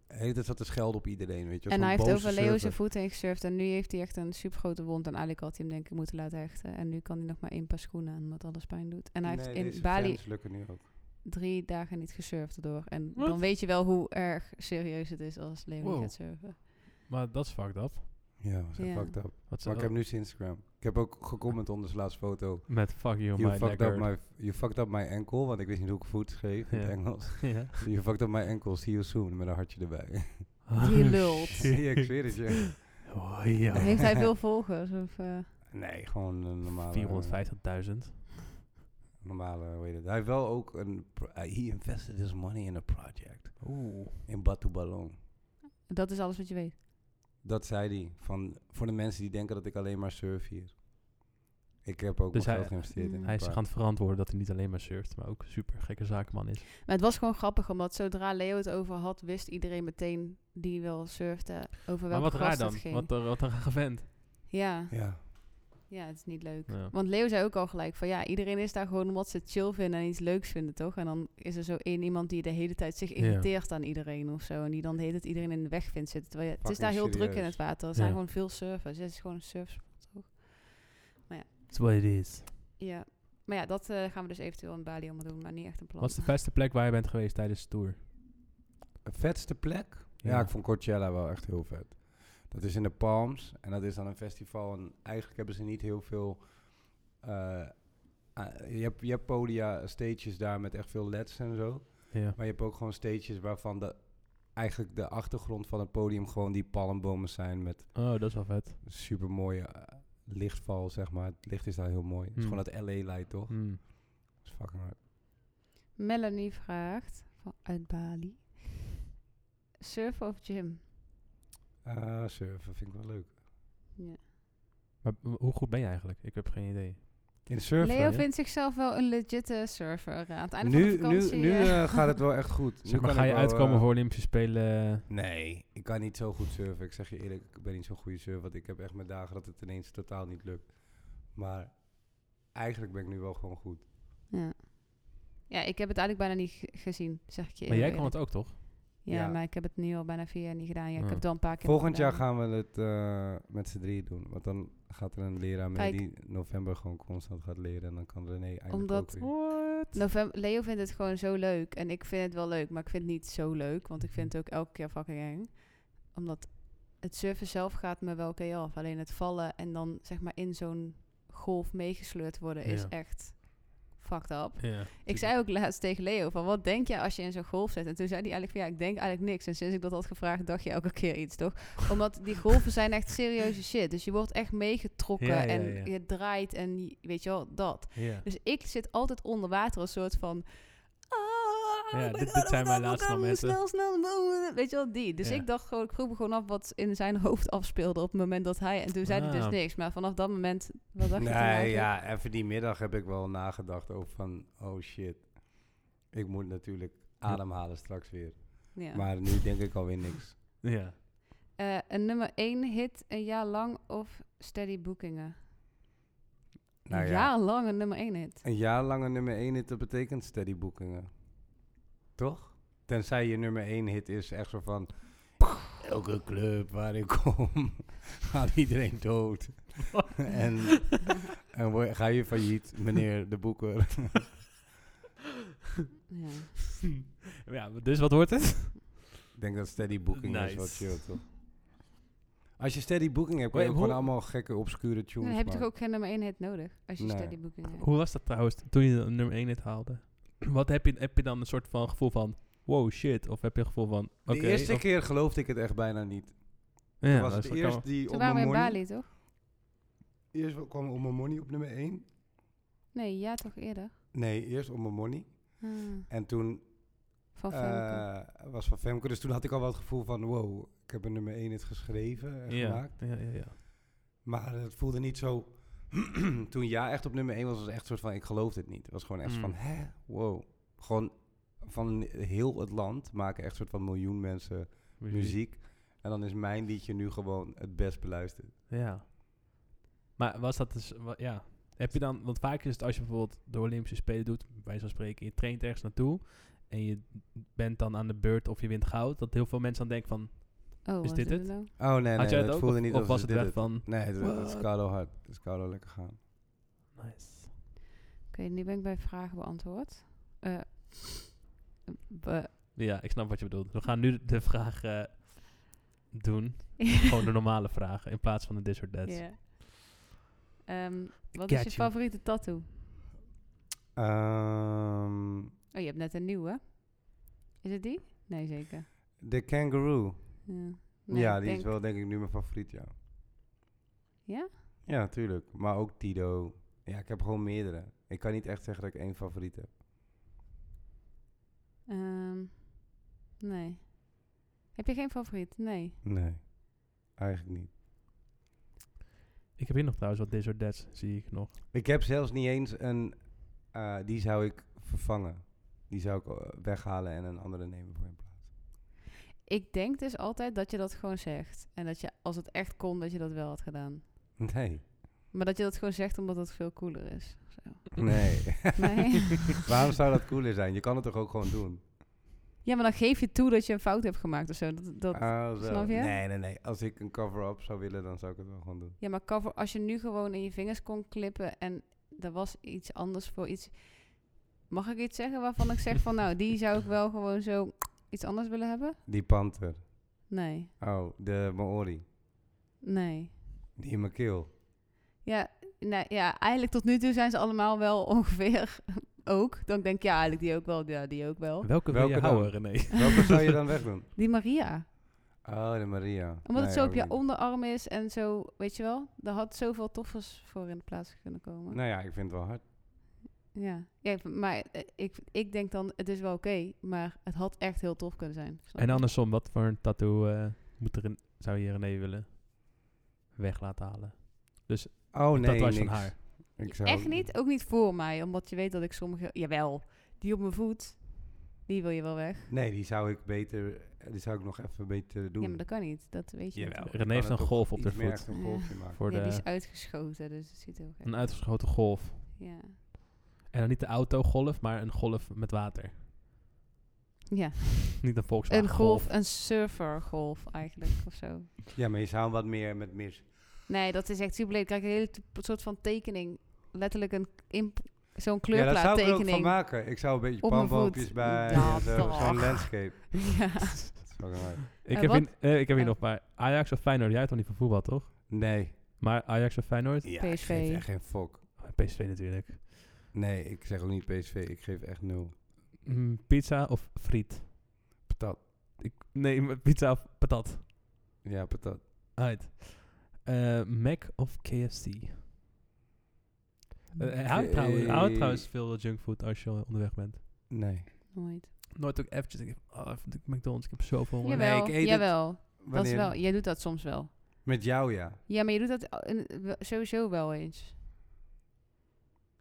Speaker 1: de hele tijd zat te schelden op iedereen, weet je. wel.
Speaker 2: het- En hij
Speaker 1: Zo'n
Speaker 2: heeft
Speaker 1: boze
Speaker 2: over Leo zijn
Speaker 1: surfer.
Speaker 2: voet heen gesurfd. En nu heeft hij echt een supergrote wond. En eigenlijk had hij hem denk ik moeten laten hechten. En nu kan hij nog maar één paar schoenen aan, omdat alles pijn doet. En hij
Speaker 1: Nee,
Speaker 2: heeft
Speaker 1: deze
Speaker 2: in Bali
Speaker 1: fans lukken nu ook.
Speaker 2: drie dagen niet gesurfd door. En
Speaker 3: Wat?
Speaker 2: dan weet je wel hoe erg serieus het is als Leo
Speaker 3: Wow.
Speaker 2: niet gaat surfen.
Speaker 3: Maar dat is fucked up.
Speaker 1: Ja, we zijn
Speaker 2: Ja.
Speaker 1: fucked up.
Speaker 3: Wat is
Speaker 1: Maar ik heb nu zijn Instagram. Ik heb ook gecomment onder zijn laatste foto.
Speaker 3: Met fuck you,
Speaker 1: You
Speaker 3: my
Speaker 1: fucked,
Speaker 3: necker.
Speaker 1: up my, you fucked up my ankle, want ik wist niet hoe ik voet schreef in
Speaker 3: Ja.
Speaker 1: het Engels.
Speaker 3: Ja.
Speaker 1: You fucked up my ankle, see you soon, met een hartje erbij.
Speaker 2: Die lult.
Speaker 1: ja, ik zweer het je.
Speaker 3: Oh, ja.
Speaker 2: Heeft hij veel volgers? Of, eh,
Speaker 1: Nee, gewoon een normale...
Speaker 3: 450.000.
Speaker 1: Normale, hoe heet het. Hij heeft wel ook een... pro- Hij he invested his money in a project.
Speaker 3: Oeh.
Speaker 1: In Batu Balong.
Speaker 2: dat is alles wat je weet.
Speaker 1: Dat zei hij. Van, voor de mensen die denken dat ik alleen maar surf hier. Ik heb ook
Speaker 3: Dus
Speaker 1: mijn geld
Speaker 3: hij-
Speaker 1: geïnvesteerd in
Speaker 2: Mm.
Speaker 1: een
Speaker 3: Hij is zich
Speaker 1: paar-
Speaker 3: aan het verantwoorden dat hij niet alleen maar surft, maar ook super gekke zakenman is.
Speaker 2: Maar het was gewoon grappig, omdat zodra Leo het over had, wist iedereen meteen die wel surfde over
Speaker 3: maar
Speaker 2: welke
Speaker 3: wat eh,
Speaker 2: gast
Speaker 3: raar dan?
Speaker 2: het ging.
Speaker 3: Wat, een- wat een rare vent.
Speaker 2: Ja,
Speaker 1: Ja.
Speaker 2: Ja, het is niet leuk.
Speaker 3: Ja.
Speaker 2: Want Leo zei ook al gelijk van ja, iedereen is daar gewoon omdat ze het chill vinden en iets leuks vinden, toch? En dan is er zo één iemand die de hele tijd zich irriteert aan iedereen of zo. En die dan de hele tijd iedereen in de weg vindt zitten. Terwijl je- het is
Speaker 1: Fucking
Speaker 2: daar heel druk in
Speaker 1: serieus.
Speaker 2: het water. Er zijn
Speaker 3: Ja.
Speaker 2: gewoon veel surfers. Het is gewoon een surfspot, toch?
Speaker 3: That's what it is.
Speaker 2: Ja. Maar ja, dat eh, gaan we dus eventueel in Bali allemaal doen, maar niet echt een plan.
Speaker 3: Wat is de beste plek waar je bent geweest tijdens de tour?
Speaker 1: Een vetste plek? Ja.
Speaker 3: Ja.
Speaker 1: ik vond Coachella wel echt heel vet. Dat is in de Palms en dat is dan een festival. En eigenlijk hebben ze niet heel veel. eh, ah, je, hebt, je hebt podia, stages daar met echt veel leds en zo.
Speaker 3: Ja.
Speaker 1: Maar je hebt ook gewoon stages waarvan de, eigenlijk de achtergrond van het podium gewoon die palmbomen zijn met
Speaker 3: Oh, dat is wel vet.
Speaker 1: super mooie lichtval, zeg maar. Het licht is daar heel mooi. Het is
Speaker 3: Hmm.
Speaker 1: gewoon dat LA-light, toch?
Speaker 3: Hmm.
Speaker 1: Dat is fucking hard.
Speaker 2: Melanie vraagt van, uit Bali. Surfen of gym?
Speaker 1: Ah, surfen vind ik wel leuk.
Speaker 2: Ja.
Speaker 3: Maar m- hoe goed ben je eigenlijk? Ik heb geen idee.
Speaker 1: In eh, surfen?
Speaker 2: Leo
Speaker 3: ja.
Speaker 2: vindt zichzelf wel een legitte surfer. eh, Aan het einde van
Speaker 1: Nu,
Speaker 2: de
Speaker 1: nu,
Speaker 2: vakantie...
Speaker 1: nu
Speaker 2: eh,
Speaker 1: eh, gaat het wel echt goed. Nu
Speaker 3: Zeg maar,
Speaker 1: kan
Speaker 3: ga
Speaker 1: ik
Speaker 3: je
Speaker 1: wel,
Speaker 3: uitkomen
Speaker 1: eh,
Speaker 3: voor Olympische Spelen?
Speaker 1: Nee, ik kan niet zo goed surfen. Ik zeg je eerlijk, ik ben niet zo'n goede surfer. Want ik heb echt mijn dagen dat het ineens totaal niet lukt. Maar eigenlijk ben ik nu wel gewoon goed.
Speaker 2: Ja. ja, ik heb het eigenlijk bijna niet ge- gezien, zeg ik je
Speaker 3: Maar jij
Speaker 2: eerlijk.
Speaker 3: kan het ook, toch?
Speaker 2: Ja,
Speaker 1: ja.
Speaker 2: maar ik heb het nu al bijna vier jaar niet gedaan. Ja, ik
Speaker 3: Ja.
Speaker 2: heb het wel een paar keer
Speaker 1: Volgend
Speaker 2: gedaan.
Speaker 1: jaar gaan we het eh, met z'n drieën doen. Want dan gaat er een leraar mee
Speaker 2: Kijk.
Speaker 1: die november gewoon constant gaat leren. En dan kan René eindelijk
Speaker 2: Omdat-
Speaker 1: ook weer.
Speaker 3: What?
Speaker 2: November, Leo vindt het gewoon zo leuk. En ik vind het wel leuk, maar ik vind het niet zo leuk. Want ik vind het ook elke keer fucking eng. Omdat het surfen zelf gaat me wel oké af. Alleen het vallen en dan zeg maar in zo'n golf meegesleurd worden is
Speaker 3: Ja.
Speaker 2: echt fucked up.
Speaker 3: Ja.
Speaker 2: Ik zei ook laatst tegen Leo van wat denk je als je in zo'n golf zit? En toen zei hij eigenlijk van ja, ik denk eigenlijk niks. En sinds ik dat had gevraagd, dacht je elke keer iets, toch? Omdat die golven zijn echt serieuze shit. Dus je wordt echt meegetrokken
Speaker 3: Ja, ja,
Speaker 2: en
Speaker 3: ja.
Speaker 2: je draait en je- weet je wel, dat.
Speaker 3: Ja.
Speaker 2: Dus ik zit altijd onder water als soort van... ah,
Speaker 3: Ja,
Speaker 2: oh my
Speaker 3: dit-
Speaker 2: God,
Speaker 3: dit
Speaker 2: oh
Speaker 3: zijn
Speaker 2: my
Speaker 3: mijn
Speaker 2: God,
Speaker 3: laatste
Speaker 2: oh,
Speaker 3: momenten.
Speaker 2: Snel, snel, boom, weet je wel, die. Dus
Speaker 3: Ja.
Speaker 2: ik dacht gewoon, ik vroeg me gewoon af wat in zijn hoofd afspeelde op het moment dat hij... En toen zei hij dus
Speaker 3: Ah.
Speaker 2: niks. Maar vanaf dat moment, wat dacht je toen
Speaker 1: Nee,
Speaker 2: eigenlijk?
Speaker 1: ja, even die middag heb ik wel nagedacht over van... Oh shit, ik moet natuurlijk ademhalen straks weer.
Speaker 2: Ja.
Speaker 1: Maar nu denk ik alweer niks.
Speaker 3: Ja.
Speaker 2: Eh, een nummer 1 hit een jaar lang of steady boekingen?
Speaker 1: Nou
Speaker 2: een
Speaker 1: ja,
Speaker 2: jaar lang een nummer 1 hit.
Speaker 1: Een jaar lange nummer 1 hit, dat betekent steady boekingen. Toch? Tenzij je nummer 1 hit is echt zo van... Elke club waar ik kom, gaat iedereen dood. en en wo- ga je failliet, meneer de boeker.
Speaker 2: Ja.
Speaker 3: ja, dus wat wordt het?
Speaker 1: Ik denk dat steady booking is wat
Speaker 3: Nice.
Speaker 1: chill, toch? Als je steady booking hebt, kan je
Speaker 3: Wait,
Speaker 1: ook gewoon
Speaker 3: hoe-
Speaker 1: allemaal gekke, obscure tunes
Speaker 2: Dan heb je toch
Speaker 1: maken.
Speaker 2: ook geen nummer 1 hit nodig als je
Speaker 1: Nee.
Speaker 2: steady boekingen hebt.
Speaker 3: Hoe was dat trouwens toen je de nummer 1 net haalde? Wat heb je, heb je dan een soort van gevoel van wow shit? Of heb je een gevoel van oké.
Speaker 1: de eerste
Speaker 3: of-
Speaker 1: keer geloofde ik het echt bijna niet. was
Speaker 3: ja,
Speaker 1: het
Speaker 3: dat is wel-
Speaker 1: eerst die
Speaker 2: Toen
Speaker 1: op
Speaker 2: waren we
Speaker 1: mijn
Speaker 2: in
Speaker 1: money.
Speaker 2: Bali, toch?
Speaker 1: Eerst kwam op mijn money op nummer 1.
Speaker 2: Nee, ja toch eerder.
Speaker 1: Nee, eerst op mijn money.
Speaker 2: Ah,
Speaker 1: En toen
Speaker 2: van Femke.
Speaker 1: eh, was van Femke. Dus toen had ik al wel het gevoel van... wow, ik heb een nummer 1 het geschreven en
Speaker 3: ja,
Speaker 1: gemaakt.
Speaker 3: ja, ja, ja.
Speaker 1: Maar het voelde niet zo... toen ja echt op nummer 1 was, was echt een soort van... ik geloof dit niet. Het was gewoon echt
Speaker 3: Mm.
Speaker 1: van... hè, wow. Gewoon van heel het land maken echt een soort van miljoen mensen muziek. En dan is mijn liedje nu gewoon het best beluisterd.
Speaker 3: Ja. Maar was dat dus, wa- ja. Heb je dan, want vaak is het als je bijvoorbeeld de Olympische Spelen doet, bij wijze van spreken, je traint ergens naartoe en je bent dan aan de beurt of je wint goud, dat heel veel mensen dan denken van,
Speaker 2: Oh, was
Speaker 3: dit het?
Speaker 2: nou?
Speaker 1: Oh nee,
Speaker 3: had
Speaker 1: nee,
Speaker 3: jij
Speaker 1: dat
Speaker 3: het ook?
Speaker 1: voelde
Speaker 3: Of,
Speaker 1: niet
Speaker 3: of
Speaker 1: als
Speaker 3: was
Speaker 1: ze
Speaker 3: het
Speaker 1: dit
Speaker 3: echt van,
Speaker 1: Nee, dat, dat is
Speaker 3: What?
Speaker 1: Carlo hard. Dat is Carlo lekker gaan.
Speaker 3: nice.
Speaker 2: Oké, nu ben ik bij vragen beantwoord. Eh, be-
Speaker 3: Ja, ik snap wat je bedoelt. We gaan nu de vraag eh, doen, gewoon de
Speaker 1: Oh,
Speaker 3: normale vragen, in plaats van de this or that.
Speaker 2: Oh, Ja. Ehm, wat
Speaker 3: Got
Speaker 2: is je
Speaker 3: you.
Speaker 2: favoriete tattoo?
Speaker 1: Ehm,
Speaker 2: Oh, je hebt net een nieuwe. Is het die? Nee, zeker.
Speaker 1: de kangaroo.
Speaker 2: Ja, Nee,
Speaker 1: ja,
Speaker 2: ik
Speaker 1: die is
Speaker 2: denk-
Speaker 1: wel denk ik nu mijn favoriet, ja.
Speaker 2: Ja?
Speaker 1: Ja, tuurlijk. Maar ook Tido. Ja, ik heb gewoon meerdere. Ik kan niet echt zeggen dat ik één favoriet heb.
Speaker 2: Ehm, nee. Heb je geen favoriet? Nee.
Speaker 1: Nee. Eigenlijk niet.
Speaker 3: Ik heb hier nog trouwens wat this or that's, zie ik nog.
Speaker 1: Ik heb zelfs niet eens een... eh, die zou ik vervangen. Die zou ik eh, weghalen en een andere nemen voor in plaats.
Speaker 2: Ik denk dus altijd dat je dat gewoon zegt. En dat je, als het echt kon, dat je dat wel had gedaan.
Speaker 1: Nee.
Speaker 2: Maar dat je dat gewoon zegt omdat het veel cooler is. Zo.
Speaker 1: Nee.
Speaker 2: Nee.
Speaker 1: Waarom zou dat cooler zijn? Je kan het toch ook gewoon doen?
Speaker 2: ja, maar dan geef je toe dat je een fout hebt gemaakt of zo. Dat, dat,
Speaker 1: Ah, zo.
Speaker 2: snap je?
Speaker 1: Nee, nee, nee. Als ik een cover-up zou willen, dan zou ik het wel gewoon doen.
Speaker 2: Ja, maar cover, als je nu gewoon in je vingers kon klippen en er was iets anders voor iets. Mag ik iets zeggen waarvan ik zeg van nou, die zou ik wel gewoon zo iets anders willen hebben?
Speaker 1: Die panter.
Speaker 2: Nee,
Speaker 1: Oh, de Maori.
Speaker 2: nee.
Speaker 1: Die in mijn keel.
Speaker 2: Ja, nee, ja, eigenlijk tot nu toe zijn ze allemaal wel ongeveer ook. Dan denk ik ja, eigenlijk die ook wel, ja, die ook wel.
Speaker 3: Welke, wil
Speaker 1: Welke
Speaker 3: je
Speaker 1: dan?
Speaker 3: houden, René?
Speaker 1: Welke zou je dan wegdoen?
Speaker 2: Die Maria.
Speaker 1: Oh, de Maria.
Speaker 2: Omdat
Speaker 1: Nee,
Speaker 2: het zo
Speaker 1: ook
Speaker 2: op je
Speaker 1: niet.
Speaker 2: onderarm is en zo, weet je wel. Daar had zoveel toffers voor in de plaats kunnen komen.
Speaker 1: Nou ja, ik vind het wel hard.
Speaker 2: Ja, ja maar eh, ik, ik denk dan, het is wel oké, maar het had echt heel tof kunnen zijn. Snap
Speaker 3: En
Speaker 2: je?
Speaker 3: andersom, wat voor een tattoo eh, moet er zou je René willen weg laten halen?
Speaker 1: Oh nee,
Speaker 3: Tatoeage van
Speaker 1: niks.
Speaker 3: haar.
Speaker 1: Ik
Speaker 2: Ja,
Speaker 1: zou
Speaker 2: Echt niet, ook niet voor mij, omdat je weet dat ik sommige... Jawel, die op mijn voet, die wil je wel weg.
Speaker 1: Nee, die zou ik beter... Die zou ik nog even beter doen.
Speaker 2: Ja, maar dat kan niet, dat weet je
Speaker 1: Jawel.
Speaker 2: natuurlijk.
Speaker 1: ik
Speaker 3: René
Speaker 1: kan
Speaker 3: heeft
Speaker 1: het
Speaker 3: een
Speaker 1: toch
Speaker 3: golf op
Speaker 1: iets
Speaker 3: haar
Speaker 1: meer
Speaker 3: voet.
Speaker 1: echt een golfje maken.
Speaker 3: Voor
Speaker 2: Ja, die
Speaker 3: de,
Speaker 2: is uitgeschoten, dus het ziet er heel gek
Speaker 3: een
Speaker 2: uit.
Speaker 3: uitgeschoten golf.
Speaker 2: Ja.
Speaker 3: En dan niet de autogolf, maar een golf met water.
Speaker 2: ja,
Speaker 3: Niet een Volkswagen
Speaker 2: een golf, een surfergolf eigenlijk, of zo.
Speaker 1: Ja, maar je zou hem wat meer met mis...
Speaker 2: Nee, dat is echt super leuk. Kijk, een hele t- soort van tekening, letterlijk een imp- zo'n
Speaker 1: Ja, dat zou ik er ook van
Speaker 2: kleurplaattekening.
Speaker 1: maken. Ik zou een beetje
Speaker 2: Op mijn voet.
Speaker 1: palmboompjes bij...
Speaker 2: Ja,
Speaker 1: en zo,
Speaker 2: toch.
Speaker 1: Zo'n landscape.
Speaker 2: Ja.
Speaker 1: Dat is wel mooi.
Speaker 3: Ik,
Speaker 2: Eh,
Speaker 3: heb
Speaker 2: wat-
Speaker 3: hier, eh, ik heb
Speaker 2: eh.
Speaker 3: hier nog bij Ajax of Feyenoord. Jij hebt toch niet van voetbal, toch?
Speaker 1: Nee.
Speaker 3: Maar Ajax of Feyenoord? Oh,
Speaker 1: Ja, ik
Speaker 2: PSV.
Speaker 1: geef echt geen fok.
Speaker 3: PSV natuurlijk.
Speaker 1: Nee, ik zeg ook niet PSV. Ik geef echt nul.
Speaker 3: Mm, pizza of friet?
Speaker 1: Patat.
Speaker 3: Ik, nee, maar pizza of patat.
Speaker 1: Ja, patat.
Speaker 3: Uit. Eh, Mac of KFC? Eh, hij houdt trouwens, hij houdt trouwens veel junkfood als je onderweg bent.
Speaker 1: Nee.
Speaker 2: Nooit.
Speaker 3: Nooit ook eventjes, ik oh, even de McDonald's, ik heb zoveel honger.
Speaker 1: Nee,
Speaker 2: Jawel,
Speaker 1: ik eet het
Speaker 2: jawel. Dat is
Speaker 1: Wanneer?
Speaker 2: wel, jij doet dat soms wel.
Speaker 1: Met jou, ja.
Speaker 2: Ja, maar je doet dat al- in- wel- sowieso wel eens.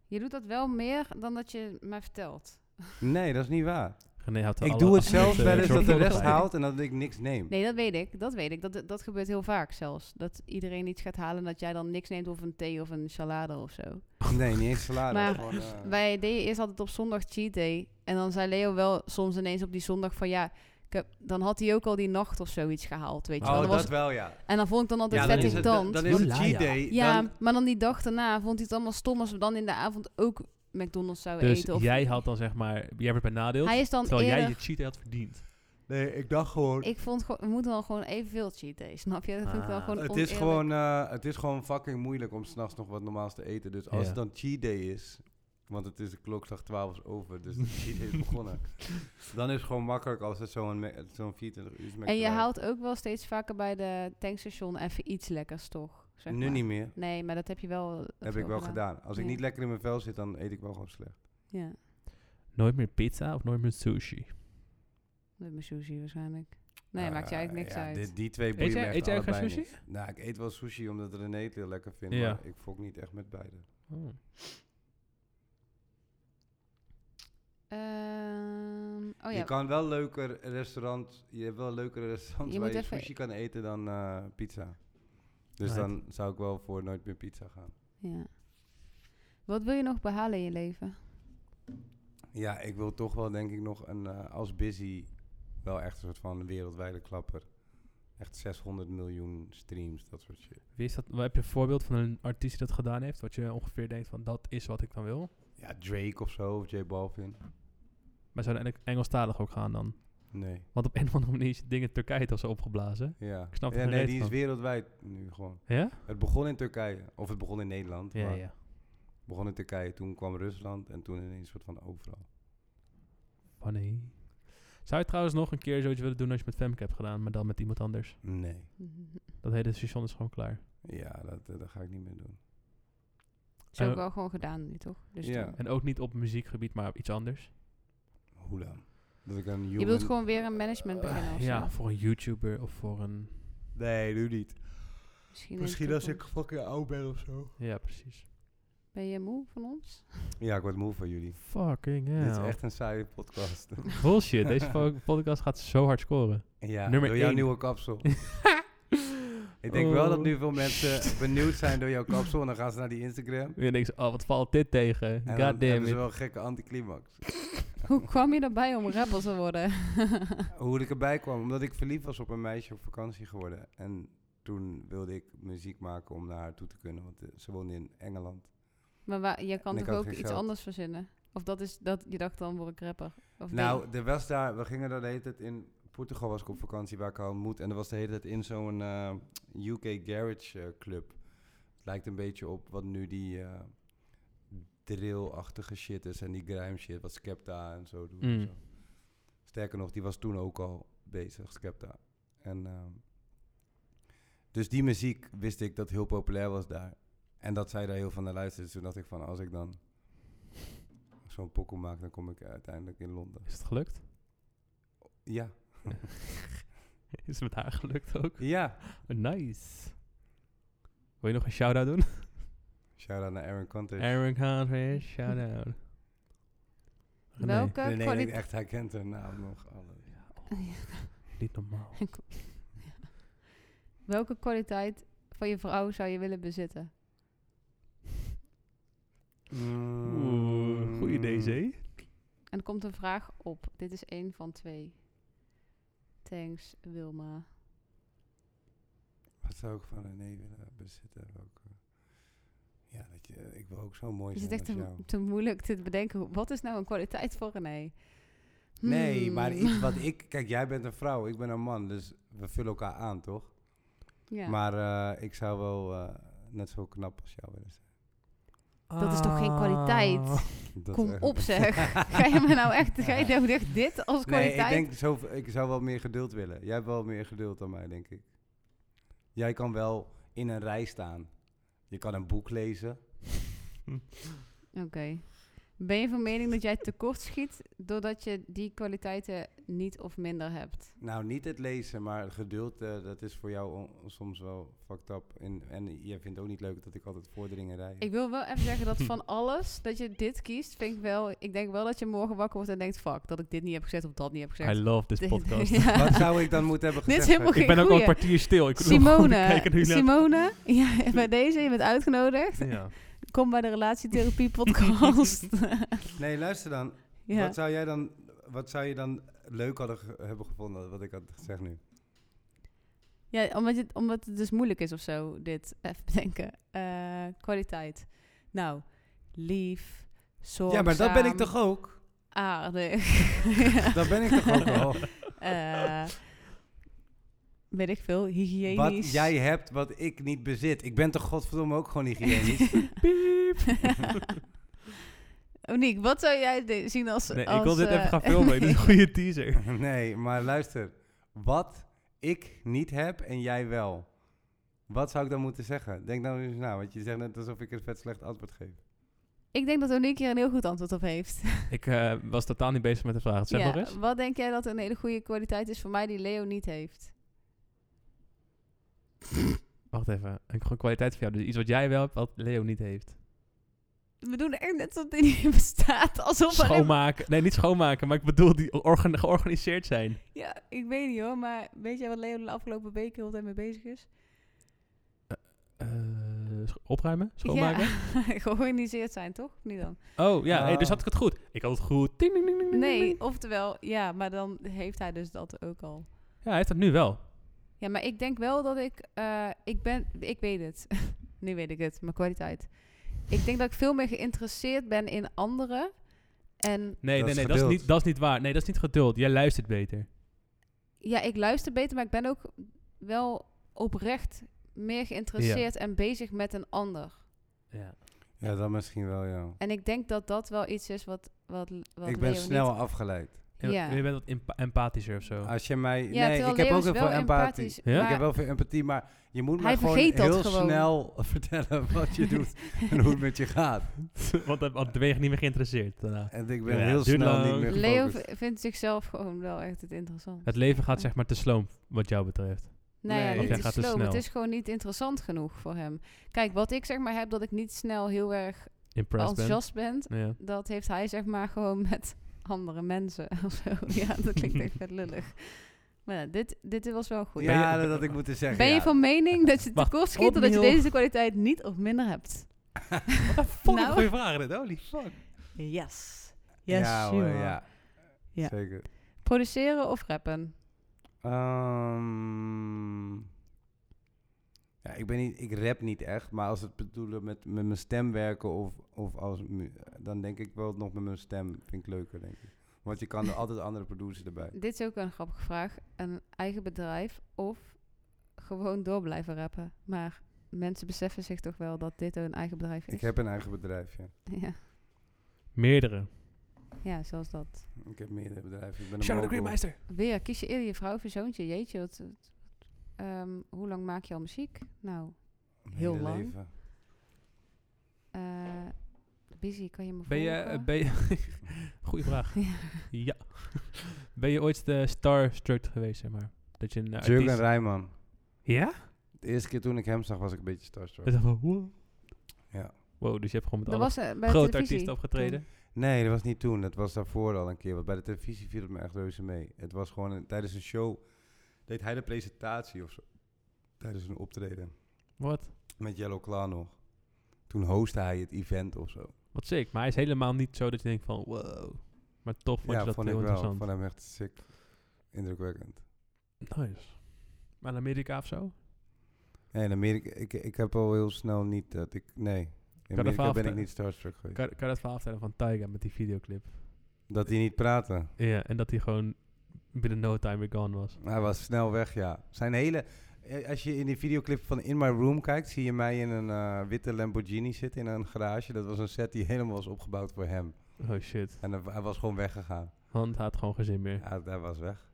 Speaker 2: Je doet dat wel meer dan dat je mij vertelt.
Speaker 1: Nee, dat is niet waar.
Speaker 3: René houdt
Speaker 1: ik
Speaker 3: alle
Speaker 1: doe het
Speaker 3: afspraken,
Speaker 1: zelf
Speaker 3: eh,
Speaker 1: wel eens dat de
Speaker 3: zorgvuldig
Speaker 1: rest
Speaker 3: bij.
Speaker 1: haalt en dat ik niks neem.
Speaker 2: Nee, dat weet ik. Dat weet ik. Dat, dat gebeurt heel vaak zelfs. Dat iedereen iets gaat halen en dat jij dan niks neemt of een thee of een salade of zo.
Speaker 1: Nee, niet eens salade.
Speaker 2: Maar
Speaker 1: gewoon, eh,
Speaker 2: Wij deden eerst altijd op zondag cheat day. En dan zei Leo wel soms ineens op die zondag van ja, ik heb, dan had hij ook al die nacht of zoiets gehaald, weet je wel.
Speaker 1: oh,
Speaker 2: Dan
Speaker 1: dat
Speaker 2: was-
Speaker 1: wel, ja.
Speaker 2: en dan vond ik dan altijd
Speaker 1: ja
Speaker 2: vet
Speaker 1: dan, is het, dan,
Speaker 2: irritant.
Speaker 1: dan is het
Speaker 3: Jola, ja.
Speaker 1: cheat day.
Speaker 2: Ja,
Speaker 1: Dan,
Speaker 2: maar dan die dag daarna vond hij het allemaal stom als we dan in de avond ook McDonald's zouden
Speaker 3: Dus
Speaker 2: eten. Of
Speaker 3: jij had dan zeg maar, jij werd benadeeld,
Speaker 2: hij is dan
Speaker 3: terwijl jij
Speaker 2: eerder...
Speaker 3: je cheat had verdiend.
Speaker 1: nee, ik dacht gewoon...
Speaker 2: Ik vond gewoon, we moeten dan gewoon evenveel cheat days, snap je? Dat vind ik wel
Speaker 3: Ah.
Speaker 2: gewoon
Speaker 1: het, is
Speaker 2: oneerlijk.
Speaker 1: gewoon, eh, het is gewoon fucking moeilijk om s'nachts nog wat normaals te eten. Dus als
Speaker 3: Ja.
Speaker 1: het dan cheat day is... Want het is de klokslag 12 is over, dus de cheat day is begonnen. Dan is het gewoon makkelijk als het zo'n me- zo'n 24 uur
Speaker 2: En je haalt ook wel steeds vaker bij de tankstation even iets lekkers, toch? Zeg
Speaker 1: Nu
Speaker 2: maar.
Speaker 1: niet meer.
Speaker 2: Nee, maar dat heb je wel...
Speaker 1: Heb ik wel gedaan. Als ik
Speaker 2: Ja.
Speaker 1: niet lekker in mijn vel zit, dan eet ik wel gewoon slecht.
Speaker 2: Ja,
Speaker 3: Nooit meer pizza of nooit meer sushi?
Speaker 2: met mijn sushi waarschijnlijk. Nee,
Speaker 1: Eh,
Speaker 2: maakt je eigenlijk niks
Speaker 1: ja,
Speaker 2: uit.
Speaker 1: dit- die twee
Speaker 3: Eet
Speaker 1: boeien me
Speaker 3: jij,
Speaker 1: echt
Speaker 3: eet jij geen
Speaker 1: allebei
Speaker 3: sushi?
Speaker 1: niet. Nou, ik eet wel sushi omdat René het heel lekker vindt.
Speaker 3: Ja.
Speaker 1: Maar ik fok niet echt met beide.
Speaker 3: Oh.
Speaker 2: Ehm, oh
Speaker 1: Je
Speaker 2: ja,
Speaker 1: kan wel leuker restaurant. Je hebt wel leukere restaurants
Speaker 2: Je
Speaker 1: waar
Speaker 2: moet
Speaker 1: je
Speaker 2: even-
Speaker 1: sushi kan eten dan eh, pizza. Dus
Speaker 3: Right.
Speaker 1: dan zou ik wel voor nooit meer pizza gaan.
Speaker 2: ja. Wat wil je nog behalen in je leven?
Speaker 1: Ja, ik wil toch wel denk ik nog een eh, als busy wel echt een soort van wereldwijde klapper. Echt 600 miljoen streams, dat soort shit.
Speaker 3: Wie is dat, wat heb je een voorbeeld van een artiest die dat gedaan heeft? Wat je ongeveer denkt van, dat is wat ik dan wil?
Speaker 1: Ja, Drake of zo, of J Balvin.
Speaker 3: Maar zou dan Engelstalig ook gaan dan?
Speaker 1: Nee.
Speaker 3: Want op een of andere manier is dingen Turkije toch zo opgeblazen.
Speaker 1: Ja.
Speaker 3: Ik snap er
Speaker 1: ja,
Speaker 3: geen
Speaker 1: nee,
Speaker 3: reet
Speaker 1: die is
Speaker 3: van.
Speaker 1: wereldwijd nu gewoon.
Speaker 3: Ja?
Speaker 1: Het begon in Turkije, of het begon in Nederland.
Speaker 3: Ja,
Speaker 1: maar
Speaker 3: ja.
Speaker 1: Het begon in Turkije, toen kwam Rusland en toen ineens een soort van overal.
Speaker 3: Funny. Zou je trouwens nog een keer zoiets willen doen als je met Femke hebt gedaan, maar dan met iemand anders?
Speaker 1: Nee.
Speaker 3: Dat hele station is gewoon klaar.
Speaker 1: Ja, dat, eh, dat ga ik niet meer doen.
Speaker 2: Is ook
Speaker 3: Eh,
Speaker 2: wel gewoon gedaan nu, toch? Dus
Speaker 1: ja.
Speaker 2: dan-
Speaker 3: En ook niet op muziekgebied, maar op iets anders.
Speaker 1: Hoe dan? Dat ik een human...
Speaker 2: Je wilt gewoon weer een management beginnen of
Speaker 3: ja,
Speaker 2: zo?
Speaker 3: voor een YouTuber of voor een...
Speaker 1: Nee, nu niet.
Speaker 2: Misschien, in de toekomst.
Speaker 1: fucking oud ben of zo.
Speaker 3: Ja, precies.
Speaker 2: Ben je moe van ons?
Speaker 1: Ja, ik word moe van jullie.
Speaker 3: Fucking hell.
Speaker 1: Dit is echt een saaie podcast.
Speaker 3: Bullshit, deze po- podcast gaat zo hard scoren.
Speaker 1: ja,
Speaker 3: Nummer
Speaker 1: door jouw
Speaker 3: één.
Speaker 1: nieuwe kapsel. Ik denk wel dat
Speaker 3: Oh.
Speaker 1: nu veel mensen benieuwd zijn door jouw kapsel. En dan gaan ze naar die Instagram.
Speaker 3: En dan denk ze, oh, wat valt dit tegen?
Speaker 1: En dan
Speaker 3: God
Speaker 1: hebben
Speaker 3: damn
Speaker 1: ze
Speaker 3: it.
Speaker 1: wel een gekke anticlimax.
Speaker 2: Hoe kwam je erbij om rapper te worden?
Speaker 1: Hoe ik erbij kwam, omdat ik verliefd was op een meisje op vakantie geworden. En toen wilde ik muziek maken om naar haar toe te kunnen, want eh, ze woonde in Engeland.
Speaker 2: maar waar, je kan
Speaker 1: En ik
Speaker 2: toch
Speaker 1: had
Speaker 2: ook
Speaker 1: geen
Speaker 2: iets
Speaker 1: geld.
Speaker 2: anders verzinnen? Of dat is dat je dacht dan word ik rapper? Of
Speaker 1: Nou,
Speaker 2: nee?
Speaker 1: er was daar, we gingen daar de hele tijd in. Portugal was ik op vakantie waar ik haar ontmoet. En er was de hele tijd in zo'n eh, UK Garage eh, Club. Het lijkt een beetje op wat nu die eh drill-achtige shit is. En die grime shit, wat Skepta en zo doen. en
Speaker 3: Mm.
Speaker 1: zo. Sterker nog, die was toen ook al bezig, Skepta. En, ehm, dus die muziek wist ik dat heel populair was daar. En dat zij daar heel van naar luisterde. Dus toen dacht ik van, als ik dan zo'n pokkel maak, dan kom ik uiteindelijk in Londen.
Speaker 3: Is het gelukt?
Speaker 1: Ja.
Speaker 3: Is het met haar gelukt ook?
Speaker 1: Ja.
Speaker 3: Nice. Wil je nog een shout-out doen?
Speaker 1: Shout-out naar Aaron Contes.
Speaker 3: Aaron Conrad, shout-out. Nee,
Speaker 2: Welke
Speaker 1: Nee, nee, ik denk
Speaker 2: kwaliteit...
Speaker 1: echt, hij kent haar naam nog. Alle.
Speaker 3: niet normaal.
Speaker 2: Welke kwaliteit van je vrouw zou je willen bezitten?
Speaker 3: Oeh, goeie
Speaker 1: mm.
Speaker 3: DC.
Speaker 2: En er komt een vraag op. Dit is één van twee. Thanks, Wilma.
Speaker 1: Wat zou ik van René willen bezitten? Welke? Ja, dat je, ik wil ook zo mooi
Speaker 2: Is het
Speaker 1: zijn
Speaker 2: echt
Speaker 1: als
Speaker 2: te,
Speaker 1: jou.
Speaker 2: te moeilijk te bedenken? Hoe- Wat is nou een kwaliteit voor René?
Speaker 1: Nee,
Speaker 2: Hmm.
Speaker 1: maar iets wat ik... Kijk, jij bent een vrouw, ik ben een man. Dus we vullen elkaar aan, toch?
Speaker 2: Ja.
Speaker 1: Maar eh, ik zou wel eh, net zo knap als jou willen zijn.
Speaker 2: Dat is toch geen kwaliteit?
Speaker 3: Oh.
Speaker 1: Dat is
Speaker 2: Kom
Speaker 1: echt-
Speaker 2: op zeg. ga je me nou echt... Ga je nou echt dit als
Speaker 1: Nee,
Speaker 2: kwaliteit?
Speaker 1: ik denk zo, ik zou wel meer geduld willen. Jij hebt wel meer geduld dan mij, denk ik. Jij kan wel in een rij staan. Je kan een boek lezen.
Speaker 2: Oké. Ben je van mening dat jij tekort schiet doordat je die kwaliteiten niet of minder hebt?
Speaker 1: Nou, niet het lezen, maar geduld, eh, dat is voor jou on- soms wel fucked up. En, en jij vindt ook niet leuk dat ik altijd voordringen rij.
Speaker 2: Ik wil wel even zeggen dat van alles dat je dit kiest, vind ik wel. Ik denk wel dat je morgen wakker wordt en denkt: fuck, dat ik dit niet heb gezegd of dat niet heb
Speaker 3: I
Speaker 2: gezegd.
Speaker 3: love this podcast.
Speaker 2: Ja.
Speaker 1: Wat zou ik dan moeten hebben
Speaker 2: Dit is
Speaker 1: gezegd?
Speaker 2: helemaal
Speaker 1: Ferdy?
Speaker 2: geen
Speaker 3: Ik ben ook al een
Speaker 2: goeie.
Speaker 3: kwartier stil. Ik wil gewoon
Speaker 2: Simone,
Speaker 3: kijken hoe jullie aan-
Speaker 2: Simone, ja, bij deze, je bent uitgenodigd.
Speaker 3: Ja.
Speaker 2: Kom bij de Relatietherapie podcast.
Speaker 1: Nee, luister dan.
Speaker 2: ja.
Speaker 1: Wat zou jij dan, wat zou je dan leuk hadden ge- hebben gevonden, wat ik had gezegd nu?
Speaker 2: ja, omdat het, omdat het dus moeilijk is of zo, dit even bedenken. Eh, kwaliteit. Nou, lief, zorgzaam.
Speaker 1: Ja, maar dat ben ik toch ook?
Speaker 2: Aardig. Ja.
Speaker 1: Dat ben ik toch ook al?
Speaker 2: Eh, weet ik veel, hygiënisch.
Speaker 1: Wat jij hebt, wat ik niet bezit. Ik ben toch godverdomme ook gewoon hygiënisch.
Speaker 2: Oh, Niek, wat zou jij de- zien als...
Speaker 3: Nee,
Speaker 2: als,
Speaker 3: ik wil dit
Speaker 2: eh,
Speaker 3: even gaan filmen. Dit is een goede teaser.
Speaker 1: nee, maar luister. Wat ik niet heb en jij wel. Wat zou ik dan moeten zeggen? Denk nou eens na, want je zegt net alsof ik een vet slecht antwoord geef.
Speaker 2: ik denk dat Oniek hier een heel goed antwoord op heeft.
Speaker 3: Ik eh, was totaal niet bezig met de vraag. Zeg
Speaker 2: Ja,
Speaker 3: nog eens.
Speaker 2: Wat denk jij dat een hele goede kwaliteit is voor mij die Leo niet heeft?
Speaker 3: Wacht even. Ik heb gewoon kwaliteit voor jou. Dus iets wat jij wel hebt, wat Leo niet heeft.
Speaker 2: We doen echt net alsof dit niet bestaat. Alsof alleen-
Speaker 3: Schoonmaken. Nee, niet schoonmaken. Maar ik bedoel die organ- georganiseerd zijn.
Speaker 2: Ja, ik weet niet hoor, maar weet jij wat Leo de afgelopen weken heel de tijd mee bezig is?
Speaker 3: Eh, sch- opruimen? Schoonmaken?
Speaker 2: Ja, georganiseerd zijn toch? Niet dan?
Speaker 3: Oh ja, hey, dus
Speaker 1: Ah.
Speaker 3: had ik het goed. Ik had het goed. Ting, ting, ting, ting, ting,
Speaker 2: Nee,
Speaker 3: ting.
Speaker 2: oftewel, ja, maar dan heeft hij dus dat ook al.
Speaker 3: Ja, hij heeft dat nu wel.
Speaker 2: Ja, maar ik denk wel dat ik... eh, ik ben... Ik weet het. nu weet ik het. Mijn kwaliteit. Ik denk dat ik veel meer geïnteresseerd ben in anderen. En
Speaker 3: Nee,
Speaker 1: Dat
Speaker 3: nee,
Speaker 1: is
Speaker 3: nee. Dat is,
Speaker 1: geduld.
Speaker 3: niet, dat is niet waar. Nee, dat is niet geduld. Jij luistert beter.
Speaker 2: ja, ik luister beter, maar ik ben ook wel oprecht meer geïnteresseerd en bezig met een ander.
Speaker 3: Ja.
Speaker 1: Ja, dan misschien wel, ja.
Speaker 2: En ik denk dat dat wel iets is wat... wat, wat
Speaker 1: ik ben
Speaker 2: Leo
Speaker 1: snel
Speaker 2: niet-
Speaker 1: afgeleid.
Speaker 3: En
Speaker 2: Ja.
Speaker 3: Je bent wat empa- empathischer of zo.
Speaker 1: Als je mij... nee,
Speaker 2: Ja, terwijl
Speaker 1: ik heb
Speaker 2: Leo
Speaker 1: ook
Speaker 2: is
Speaker 1: heel
Speaker 2: wel
Speaker 1: veel empathie.
Speaker 2: empathisch.
Speaker 3: Ja?
Speaker 1: Ik
Speaker 2: maar-
Speaker 1: heb wel veel empathie, maar je moet
Speaker 2: Hij
Speaker 1: me gewoon
Speaker 2: vergeet dat
Speaker 1: heel
Speaker 2: gewoon.
Speaker 1: snel vertellen wat je doet en hoe het met je gaat.
Speaker 3: Want dan want dan ben je niet meer geïnteresseerd daarna.
Speaker 1: En ik ben
Speaker 3: Ja,
Speaker 1: heel
Speaker 3: duurt
Speaker 1: snel niet
Speaker 3: lang.
Speaker 1: meer
Speaker 2: Leo
Speaker 1: gefocust.
Speaker 2: v- vindt zichzelf gewoon wel echt het interessant.
Speaker 3: Het leven gaat zeg maar te sloom, wat jou betreft.
Speaker 2: Nou ja,
Speaker 1: Nee.
Speaker 2: niet
Speaker 1: Jij
Speaker 2: te
Speaker 3: gaat te
Speaker 2: slow, maar het
Speaker 3: snel.
Speaker 2: is gewoon niet interessant genoeg voor hem. Kijk, wat ik zeg maar heb, dat ik niet snel heel erg
Speaker 3: Impressed bent.
Speaker 2: enthousiast ben,
Speaker 3: Ja.
Speaker 2: dat heeft hij zeg maar gewoon met andere mensen of zo. Ja, dat klinkt echt vet lullig. Maar ja, dit, dit was wel goed.
Speaker 1: Ja,
Speaker 3: Ben je-
Speaker 1: dat had ik moeten zeggen.
Speaker 2: Ben je
Speaker 1: ja.
Speaker 2: van mening dat je
Speaker 3: Wacht,
Speaker 2: tekort schiet... of dat je
Speaker 3: opnieuw.
Speaker 2: deze kwaliteit niet of minder hebt?
Speaker 3: Wat een fucking
Speaker 2: Nou.
Speaker 3: goede vraag dit, holy fuck.
Speaker 2: Yes. Yes,
Speaker 1: ja, hoor, ja.
Speaker 2: Ja.
Speaker 1: Zeker.
Speaker 2: Produceren of rappen?
Speaker 1: Ehm, ja, ik, ben niet, ik rap niet echt, maar als het bedoelen met, met mijn stem werken of, of als mu- dan denk ik wel nog met mijn stem. Vind ik leuker, denk ik. Want je kan er altijd andere producers erbij.
Speaker 2: Dit is ook een grappige vraag. Een eigen bedrijf of gewoon door blijven rappen. Maar mensen beseffen zich toch wel dat dit een eigen bedrijf is?
Speaker 1: Ik heb een eigen bedrijf, ja.
Speaker 2: ja.
Speaker 3: Meerdere.
Speaker 2: ja, zoals dat.
Speaker 1: Ik heb meerdere bedrijven. Ik ben een
Speaker 3: Charlotte
Speaker 1: mogul.
Speaker 3: Greenmeister.
Speaker 2: Weer, kies je eerder je vrouw of je zoontje? Jeetje, wat, wat- ehm, hoe lang maak je al muziek? Nou,
Speaker 1: Mijn
Speaker 2: Heel
Speaker 1: hele
Speaker 2: lang.
Speaker 1: leven.
Speaker 2: eh busy, kan je me
Speaker 3: Ben je... eh,
Speaker 2: volgen?
Speaker 3: Ben je goeie vraag. ja. Ben je ooit de starstruck geweest, zeg maar? Dat je een eh,
Speaker 1: Jurgen
Speaker 3: artiest...
Speaker 1: Rijman.
Speaker 3: Ja?
Speaker 1: De eerste keer toen ik hem zag was ik een beetje starstruck.
Speaker 3: Dat is van, wow.
Speaker 1: Ja.
Speaker 3: Wow, dus je hebt gewoon met
Speaker 2: Dat
Speaker 3: alle
Speaker 2: was eh, bij de
Speaker 3: grote
Speaker 2: televisie
Speaker 3: artiesten opgetreden.
Speaker 1: Nee, dat was niet toen. Dat was daarvoor al een keer. Want bij de televisie viel het me echt reuze mee. Het was gewoon een- tijdens een show deed hij de presentatie of zo. Tijdens een optreden.
Speaker 3: Wat?
Speaker 1: Met Yellow Claw nog. Toen hostte hij het event of zo.
Speaker 3: Wat sick. Maar hij is helemaal niet zo dat je denkt van, wow. Maar toch vond je dat
Speaker 1: vond
Speaker 3: heel
Speaker 1: ik wel.
Speaker 3: interessant.
Speaker 1: Van hem echt sick. Indrukwekkend.
Speaker 3: Nice. Maar in Amerika of zo?
Speaker 1: Nee, in Amerika, ik, ik heb al heel snel niet dat ik... Nee, in Amerika
Speaker 3: verhaal
Speaker 1: ben ik
Speaker 3: vertellen?
Speaker 1: niet starstruck geweest.
Speaker 3: Kan, kan dat verhaal vertellen van Tyga met die videoclip?
Speaker 1: Dat hij niet praatte.
Speaker 3: Ja, en dat hij gewoon binnen no time weer gone was.
Speaker 1: Hij was snel weg, ja. Zijn hele... eh, Als je in die videoclip van In My Room kijkt, zie je mij in een eh, witte Lamborghini zitten in een garage. Dat was een set die helemaal was opgebouwd voor hem.
Speaker 3: Oh shit.
Speaker 1: En hij, hij was gewoon weggegaan.
Speaker 3: Hand had gewoon geen zin meer.
Speaker 1: Hij, hij was weg.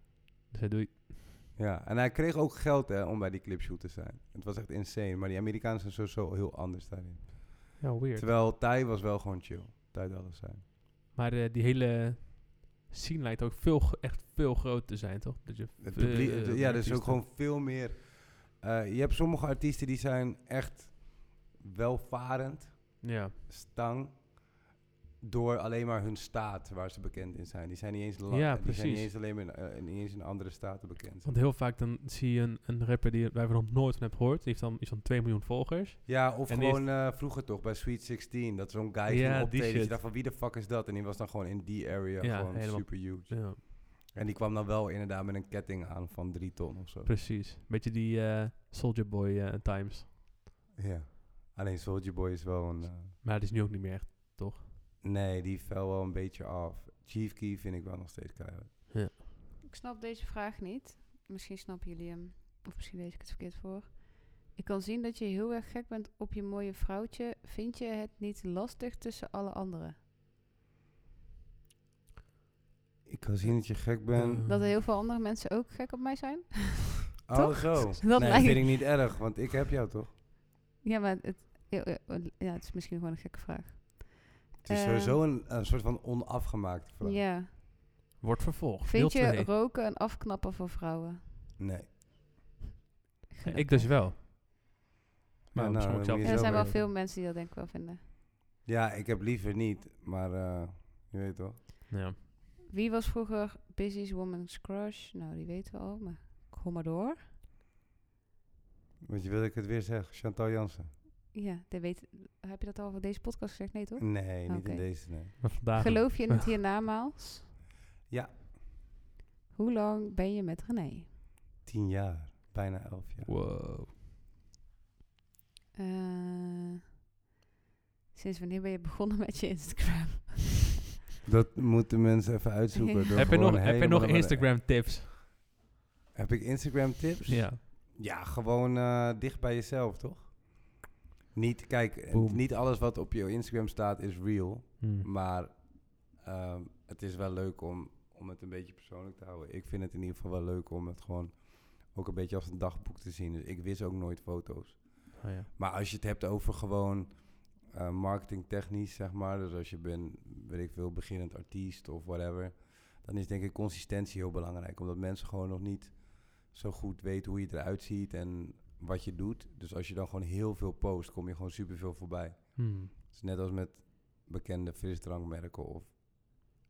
Speaker 3: Dus hij doei.
Speaker 1: Ja, en hij kreeg ook geld hè, om bij die clipshoot te zijn. Het was echt insane, maar die Amerikanen zijn sowieso heel anders daarin.
Speaker 3: Ja, weird.
Speaker 1: Terwijl Thai was wel gewoon chill. Thai had alles zijn.
Speaker 3: maar eh, die hele scene lijkt ook veel, gro- echt veel groter te zijn, toch? Dat je
Speaker 1: Het
Speaker 3: veel,
Speaker 1: publiek,
Speaker 3: eh,
Speaker 1: het- ja, dus ook
Speaker 3: artiesten-
Speaker 1: gewoon veel meer. eh, je hebt sommige artiesten die zijn echt welvarend.
Speaker 3: Ja.
Speaker 1: stang door alleen maar hun staat waar ze bekend in zijn. Die zijn niet eens la-
Speaker 3: Ja,
Speaker 1: die zijn niet
Speaker 3: precies.
Speaker 1: eens alleen maar in, eh, niet eens in andere staten bekend.
Speaker 3: Want heel vaak dan zie je een, een rapper die waar we nog nooit van hebben gehoord. Die heeft dan iets van 2 miljoen volgers.
Speaker 1: Ja, of
Speaker 3: En die
Speaker 1: gewoon eh, vroeger toch bij Sweet 16 dat zo'n guy
Speaker 3: Ja,
Speaker 1: ging
Speaker 3: die
Speaker 1: optreden. Dat
Speaker 3: shit.
Speaker 1: je dacht van wie de fuck is dat? En die was dan gewoon in die area
Speaker 3: Ja,
Speaker 1: gewoon
Speaker 3: helemaal.
Speaker 1: super huge.
Speaker 3: Ja,
Speaker 1: En die kwam dan wel inderdaad met een ketting aan van drie ton of zo.
Speaker 3: precies. Beetje die eh, Soldier Boy eh, times.
Speaker 1: Ja. Alleen Soulja Boy is wel een. eh,
Speaker 3: Maar dat is nu ook niet meer echt, toch?
Speaker 1: nee, die fel wel een beetje af. Chief Key vind ik wel nog steeds keihard.
Speaker 2: Ik snap deze vraag niet. Misschien snappen jullie hem. Of misschien lees ik het verkeerd voor. Ik kan zien dat je heel erg gek bent op je mooie vrouwtje. Vind je het niet lastig tussen alle anderen?
Speaker 1: Ik kan zien dat je gek bent.
Speaker 3: Eh,
Speaker 2: Dat er heel veel andere mensen ook gek op mij zijn?
Speaker 1: oh,
Speaker 2: toch?
Speaker 1: zo.
Speaker 2: Dat
Speaker 1: nee, dat
Speaker 2: lijkt-
Speaker 1: vind ik niet erg, want ik heb jou toch?
Speaker 2: Ja, maar het, ja, ja, ja, het is misschien gewoon een gekke vraag.
Speaker 1: Het is
Speaker 2: Eh,
Speaker 1: sowieso een, een soort van onafgemaakte vraag.
Speaker 2: Ja.
Speaker 3: Wordt vervolgd.
Speaker 2: Vind
Speaker 3: Deel
Speaker 2: je
Speaker 3: twee.
Speaker 2: roken een afknapper voor vrouwen?
Speaker 1: Nee.
Speaker 3: Ja, ik dus wel. Maar
Speaker 1: Ja, nou,
Speaker 3: misschien ook
Speaker 1: dan
Speaker 3: zelf
Speaker 1: moet je
Speaker 2: Ja, er
Speaker 1: zelf
Speaker 2: zijn wel
Speaker 1: weten.
Speaker 2: veel mensen die dat denk ik wel vinden.
Speaker 1: Ja, ik heb liever niet, maar eh, je weet toch?
Speaker 3: Ja.
Speaker 2: Wie was vroeger Busy's Woman's Crush? Nou, die weten we al, maar kom maar door.
Speaker 1: Want je wil ik het weer zeg, Chantal Jansen.
Speaker 2: Ja, dat weet, heb je dat al voor deze podcast gezegd? Nee, toch?
Speaker 1: Nee, niet
Speaker 2: Oké.
Speaker 1: in deze, nee.
Speaker 3: Maar vandaag...
Speaker 2: Geloof je in het hiernamaals?
Speaker 1: Ja.
Speaker 2: Hoe lang ben je met René?
Speaker 1: Tien jaar, bijna elf jaar.
Speaker 3: Wow.
Speaker 2: Eh, sinds wanneer ben je begonnen met je Instagram?
Speaker 1: Dat moeten mensen even uitzoeken. door
Speaker 3: Heb je
Speaker 1: gewoon
Speaker 3: nog, heb je nog
Speaker 1: helemaal-
Speaker 3: Instagram tips?
Speaker 1: Heb ik Instagram tips?
Speaker 3: Ja.
Speaker 1: Ja, gewoon eh, dicht bij jezelf, toch? Niet, kijk, eh,
Speaker 3: Boom.
Speaker 1: niet alles wat op je Instagram staat is real.
Speaker 3: Hmm.
Speaker 1: Maar ehm, het is wel leuk om, om het een beetje persoonlijk te houden. Ik vind het in ieder geval wel leuk om het gewoon ook een beetje als een dagboek te zien. Dus ik wist ook nooit foto's.
Speaker 3: Oh, ja.
Speaker 1: Maar als je het hebt over gewoon eh, marketingtechnisch, zeg maar. Dus als je bent, weet ik veel, beginnend artiest of whatever. Dan is denk ik consistentie heel belangrijk. Omdat mensen gewoon nog niet zo goed weten hoe je eruit ziet en wat je doet. Dus als je dan gewoon heel veel post, kom je gewoon superveel voorbij.
Speaker 3: Hmm.
Speaker 1: Het is net als met bekende frisdrankmerken of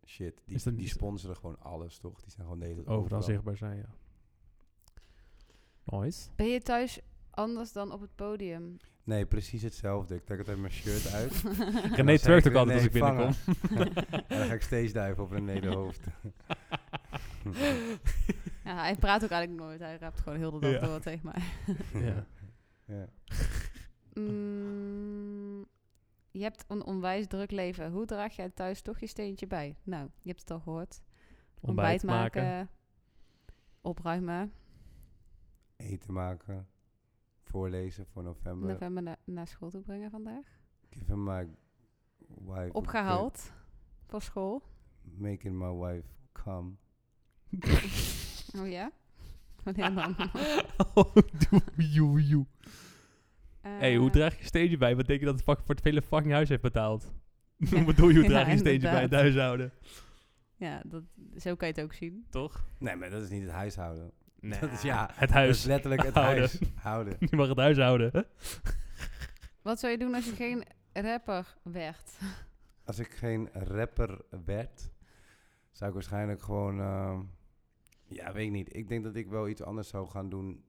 Speaker 1: shit. Die,
Speaker 3: Is dat
Speaker 1: die
Speaker 3: niet-
Speaker 1: sponsoren gewoon alles, toch? Die zijn gewoon de hele tijd
Speaker 3: Overal
Speaker 1: overal.
Speaker 3: zichtbaar zijn, ja. Nice.
Speaker 2: Ben je thuis anders dan op het podium?
Speaker 1: Nee, precies hetzelfde. Ik trek altijd mijn shirt uit. En
Speaker 3: René
Speaker 1: dan zeg
Speaker 3: twerkt ook altijd als ik
Speaker 1: "René,
Speaker 3: binnenkom.
Speaker 1: vangen." en dan ga ik steeds duiven op René de hoofd.
Speaker 2: Ja, hij praat ook eigenlijk nooit. Hij raapt gewoon heel de dag
Speaker 4: Ja.
Speaker 2: door tegen mij.
Speaker 4: Ja.
Speaker 1: Ja.
Speaker 2: Mm, je hebt een onwijs druk leven. Hoe draag jij thuis toch je steentje bij? Nou, je hebt het al gehoord.
Speaker 3: Ontbijt maken.
Speaker 2: Opruimen.
Speaker 1: Eten maken. Voorlezen voor november.
Speaker 2: November na- naar school toe brengen vandaag.
Speaker 1: Give my wife. a
Speaker 2: Opgehaald. Voor school.
Speaker 1: tip. Making my wife come.
Speaker 2: Oh ja? Wanneer dan?
Speaker 3: Oh, doe, joe, joe. hey, hoe
Speaker 2: Eh,
Speaker 3: draag je stage bij? Wat denk je dat het fucking voor het vele fucking huis heeft betaald?
Speaker 2: Ja.
Speaker 3: Wat doe je, hoe
Speaker 2: Ja,
Speaker 3: draag je stage bij
Speaker 2: inderdaad.
Speaker 3: het huishouden?
Speaker 2: Ja, dat, zo kan je het ook zien.
Speaker 3: Toch?
Speaker 1: Nee, maar dat is niet het huishouden.
Speaker 3: Nee.
Speaker 1: Dat is ja.
Speaker 3: Het
Speaker 1: Dat is
Speaker 3: huis.
Speaker 1: letterlijk het
Speaker 3: Houden.
Speaker 1: huis. Houden.
Speaker 3: Je mag het huishouden.
Speaker 2: Wat zou je doen als je geen rapper werd?
Speaker 1: Als ik geen rapper werd, zou ik waarschijnlijk gewoon. ehm, ja, weet ik niet. Ik denk dat ik wel iets anders zou gaan doen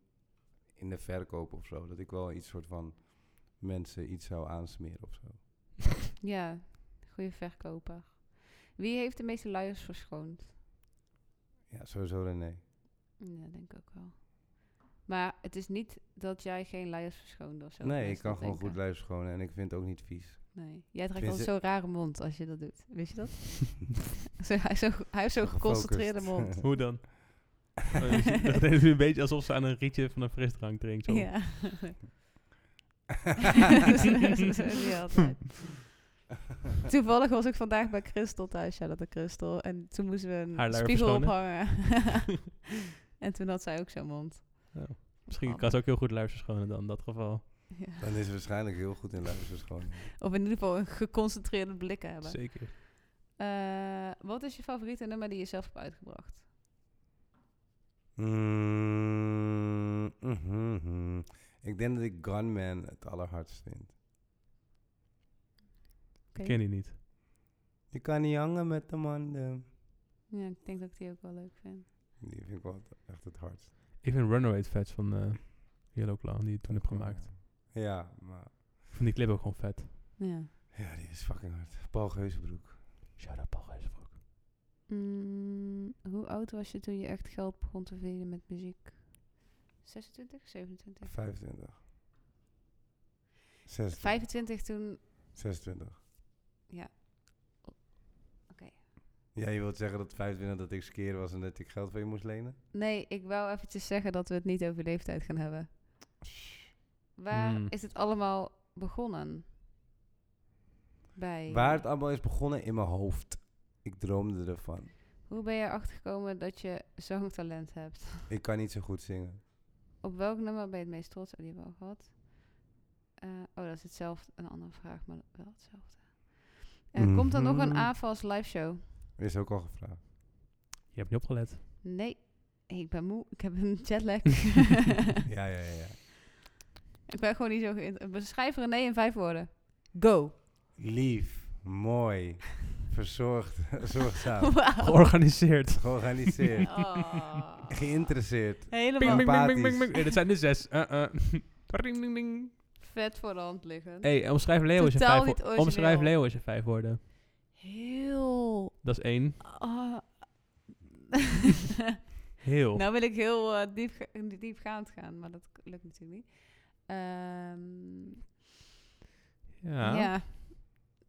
Speaker 1: in de verkoop of zo. Dat ik wel iets soort van mensen iets zou aansmeren of zo.
Speaker 2: Ja, goede verkoper. Wie heeft de meeste luiers verschoond?
Speaker 1: Ja, sowieso René.
Speaker 2: Ja, denk ik ook wel. Maar het is niet dat jij geen luiers verschoonde of zo.
Speaker 1: nee, ik
Speaker 2: mensen
Speaker 1: kan
Speaker 2: dat
Speaker 1: gewoon goed
Speaker 2: denken.
Speaker 1: luisteren gewoon en ik vind het ook niet vies.
Speaker 2: Nee. Jij trekt wel
Speaker 1: Tenminste-
Speaker 2: zo'n rare mond als je dat doet. Wist je dat? Zo- hij, is zo, hij heeft zo'n geconcentreerde mond.
Speaker 1: Gefocust.
Speaker 3: Hoe dan? Oh, Het is een beetje alsof ze aan een rietje van een frisdrank drinkt. Zo.
Speaker 2: Ja. Dat is niet altijd. Toevallig was ik vandaag bij Christel thuis, Charlotte en Christel. En toen moesten we een
Speaker 3: Haar luier
Speaker 2: spiegel
Speaker 3: verschonen.
Speaker 2: ophangen. en toen had zij ook zo'n mond.
Speaker 3: Oh,
Speaker 2: Oh.
Speaker 3: Misschien kan ze ook heel goed luisteren schonen dan, in dat geval.
Speaker 2: Ja.
Speaker 1: Dan is het waarschijnlijk heel goed in luisteren gewoon.
Speaker 2: Of in ieder geval een geconcentreerde blik hebben.
Speaker 3: Zeker.
Speaker 2: Eh, wat is je favoriete nummer die je zelf hebt uitgebracht?
Speaker 1: Mm, mhm, mhm. Ik denk dat ik Gunman het allerhardst vind.
Speaker 2: Oké.
Speaker 3: Ken die niet.
Speaker 1: Je kan niet hangen met de man. eh.
Speaker 2: Ja, ik denk dat ik die ook wel leuk vind.
Speaker 1: Die vind ik wel echt het hardst.
Speaker 3: Ik vind Runaway het vet van eh Yellow Claw, die ik toen heb gemaakt.
Speaker 1: Ja, maar...
Speaker 3: Ik vind die clip ook gewoon vet.
Speaker 2: Ja.
Speaker 1: Ja, die is fucking hard. Paul Geuzenbroek.
Speaker 3: Shout out Paul Gijsbroek.
Speaker 2: Mm, hoe oud was je toen je echt geld begon te verdienen met muziek? 26, 27?
Speaker 1: 25. 26.
Speaker 2: 25 toen...
Speaker 1: 26.
Speaker 2: Ja. Oké.
Speaker 1: Ja, je wilt zeggen dat 25 dat ik skeer was en dat ik geld van je moest lenen?
Speaker 2: Nee, ik wou eventjes zeggen dat we het niet over leeftijd gaan hebben. Waar
Speaker 1: Hmm.
Speaker 3: Mm.
Speaker 2: is het allemaal begonnen? Bij...
Speaker 1: Waar het allemaal is begonnen in mijn hoofd. Ik droomde ervan.
Speaker 2: Hoe ben je erachter gekomen dat je zangtalent hebt?
Speaker 1: Ik kan niet zo goed zingen.
Speaker 2: Op welk nummer ben je het meest trots? Oh, die hebben we al gehad. Eh, oh, dat is hetzelfde. Een andere vraag, maar wel hetzelfde. Eh, Komt er nog een
Speaker 1: Mhm.
Speaker 2: AFAS live show?
Speaker 1: Is ook al gevraagd.
Speaker 3: Je hebt niet opgelet.
Speaker 2: Nee. Ik ben moe. Ik heb een jetlag.
Speaker 1: ja, ja, ja, ja.
Speaker 2: ik ben gewoon niet zo geïnteresseerd. Beschrijf René in vijf woorden. Go.
Speaker 1: Lief, mooi, verzorgd, zorgzaam,
Speaker 3: Oh.
Speaker 2: Wauw.
Speaker 3: Georganiseerd.
Speaker 1: georganiseerd,
Speaker 2: Oh.
Speaker 1: geïnteresseerd.
Speaker 2: Helemaal
Speaker 3: Ping, ping, ping, ping,
Speaker 1: Empathisch.
Speaker 3: ping, ping. Eh, dit zijn de zes. Eh, eh. Ring, ding, ding.
Speaker 2: vet voor de hand liggen.
Speaker 3: Hey, omschrijf Leo eens in
Speaker 2: Totaal
Speaker 3: vijf
Speaker 2: niet
Speaker 3: woorden.
Speaker 2: origineel.
Speaker 3: Omschrijf Leo eens in vijf woorden.
Speaker 2: Heel.
Speaker 3: Dat is één.
Speaker 2: ah.
Speaker 3: Heel.
Speaker 2: Nou wil ik heel eh, diep, diepgaand gaan, maar dat k- lukt natuurlijk niet. Ehm, ja.
Speaker 3: ja.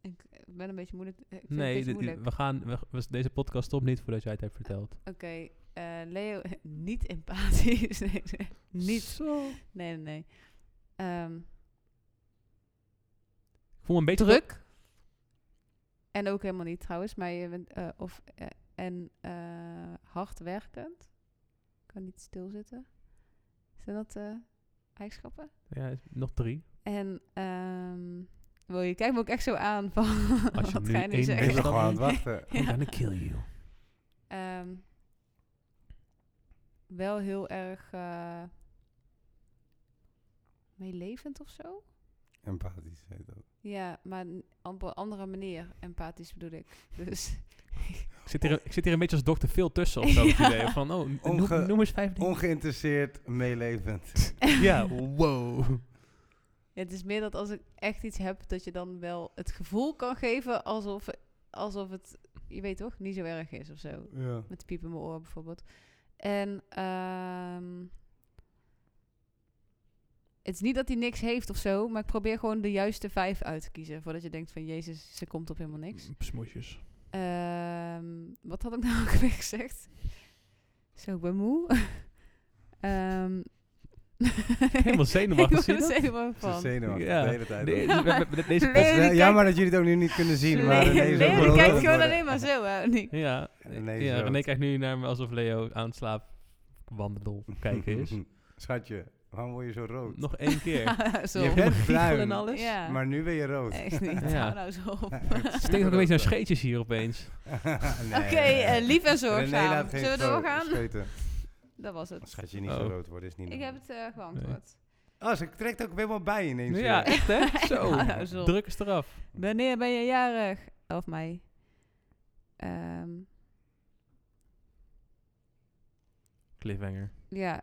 Speaker 2: Ik eh, ben een beetje moeilijk. eh, Ik vind het een
Speaker 3: Nee,
Speaker 2: beetje
Speaker 3: dit-
Speaker 2: moeilijk.
Speaker 3: we gaan, we, we- deze podcast stopt niet voordat jij het hebt verteld.
Speaker 2: Oké, eh, Leo, niet empathisch. Nee, nee, niet.
Speaker 3: zo.
Speaker 2: Nee, nee, nee. Ehm,
Speaker 3: Ik voel me een beetje...
Speaker 2: druk. En ook helemaal niet trouwens, maar je bent. eh, of, eh, en eh, hard werkend. Kan niet stilzitten. Zijn dat eh, eigenschappen?
Speaker 3: Ja, is- nog drie.
Speaker 2: En ehm wil je kijkt me ook echt zo aan van
Speaker 3: Als je
Speaker 2: wat
Speaker 3: nu
Speaker 2: ga je nu
Speaker 3: één
Speaker 1: Ik ben
Speaker 3: bent,
Speaker 2: zeggen?
Speaker 3: dan-
Speaker 1: gewoon aan het wachten.
Speaker 3: I'm gonna kill you.
Speaker 2: Ehm, wel heel erg eh, meelevend of zo.
Speaker 1: Empathisch heet dat.
Speaker 2: Ja, maar n- op een andere manier. Empathisch bedoel ik. Dus
Speaker 3: zit, hier, ik zit hier een beetje als dokter Phil tussen of zo. het
Speaker 2: Ja.
Speaker 3: idee Van, oh, noem,
Speaker 1: Onge-
Speaker 3: noem eens vijf dingen.
Speaker 1: Ongeïnteresseerd, meelevend.
Speaker 3: ja, wow.
Speaker 2: Ja, het is meer dat als ik echt iets heb, dat je dan wel het gevoel kan geven alsof, alsof het, je weet toch, niet zo erg is of zo.
Speaker 1: Ja.
Speaker 2: Met de piep in mijn oor bijvoorbeeld. En ehm, het is niet dat hij niks heeft of zo, maar ik probeer gewoon de juiste vijf uit te kiezen. Voordat je denkt van, jezus, ze komt op helemaal niks.
Speaker 3: Smoesjes.
Speaker 2: Ehm, wat had ik nou ook weer gezegd? Zo, ik ben moe. Ehm,
Speaker 3: Helemaal zenuwachtig,
Speaker 2: Ik
Speaker 3: zie je
Speaker 2: word er zenuwachtig
Speaker 3: dat?
Speaker 1: Ze is
Speaker 2: van.
Speaker 1: zenuwachtig
Speaker 3: Ja.
Speaker 1: de hele tijd.
Speaker 3: Nee,
Speaker 1: al.
Speaker 3: we- we- we- deze
Speaker 1: Het is
Speaker 2: Lely
Speaker 1: wel
Speaker 2: kijkt-
Speaker 1: jammer dat jullie het ook nu niet kunnen zien. Maar
Speaker 2: Nee,
Speaker 1: René is
Speaker 2: nee,
Speaker 1: ook
Speaker 2: die
Speaker 1: wel
Speaker 3: rood
Speaker 2: kijkt
Speaker 1: aan
Speaker 2: gewoon
Speaker 1: het
Speaker 2: alleen maar zo, hè? Nee.
Speaker 3: Ja, eh,
Speaker 1: René is
Speaker 3: ja
Speaker 1: rood.
Speaker 3: René kijkt nu naar me alsof Leo aan het slaap wandelen kijken is.
Speaker 1: worden. Schatje, waarom word je zo rood?
Speaker 3: Nog één keer.
Speaker 2: zo.
Speaker 1: Je bent
Speaker 3: Giegel
Speaker 1: bruin,
Speaker 3: en alles.
Speaker 2: Ja.
Speaker 1: maar nu ben je rood.
Speaker 2: Echt niet.
Speaker 3: Ja.
Speaker 2: Hou nou zo op.
Speaker 3: Ze denkt ook een beetje
Speaker 1: eh.
Speaker 3: naar scheetjes hier opeens.
Speaker 2: Oké, eh, lief en zorgzaam. Zullen we doorgaan?
Speaker 1: Scheten.
Speaker 2: Dat was het.
Speaker 1: Schat je niet zo
Speaker 3: Oh.
Speaker 1: rood worden, is niet
Speaker 2: Ik
Speaker 1: normaal.
Speaker 2: heb het eh, geantwoord.
Speaker 1: Oh, ze trekt ook helemaal bij ineens.
Speaker 3: Ja,
Speaker 1: weer.
Speaker 3: echt hè? Zo.
Speaker 2: Nou, nou, zo.
Speaker 3: Druk eens eraf.
Speaker 2: Wanneer ben je jarig? 11 mei. Ehm,
Speaker 3: Cliffhanger.
Speaker 2: ja.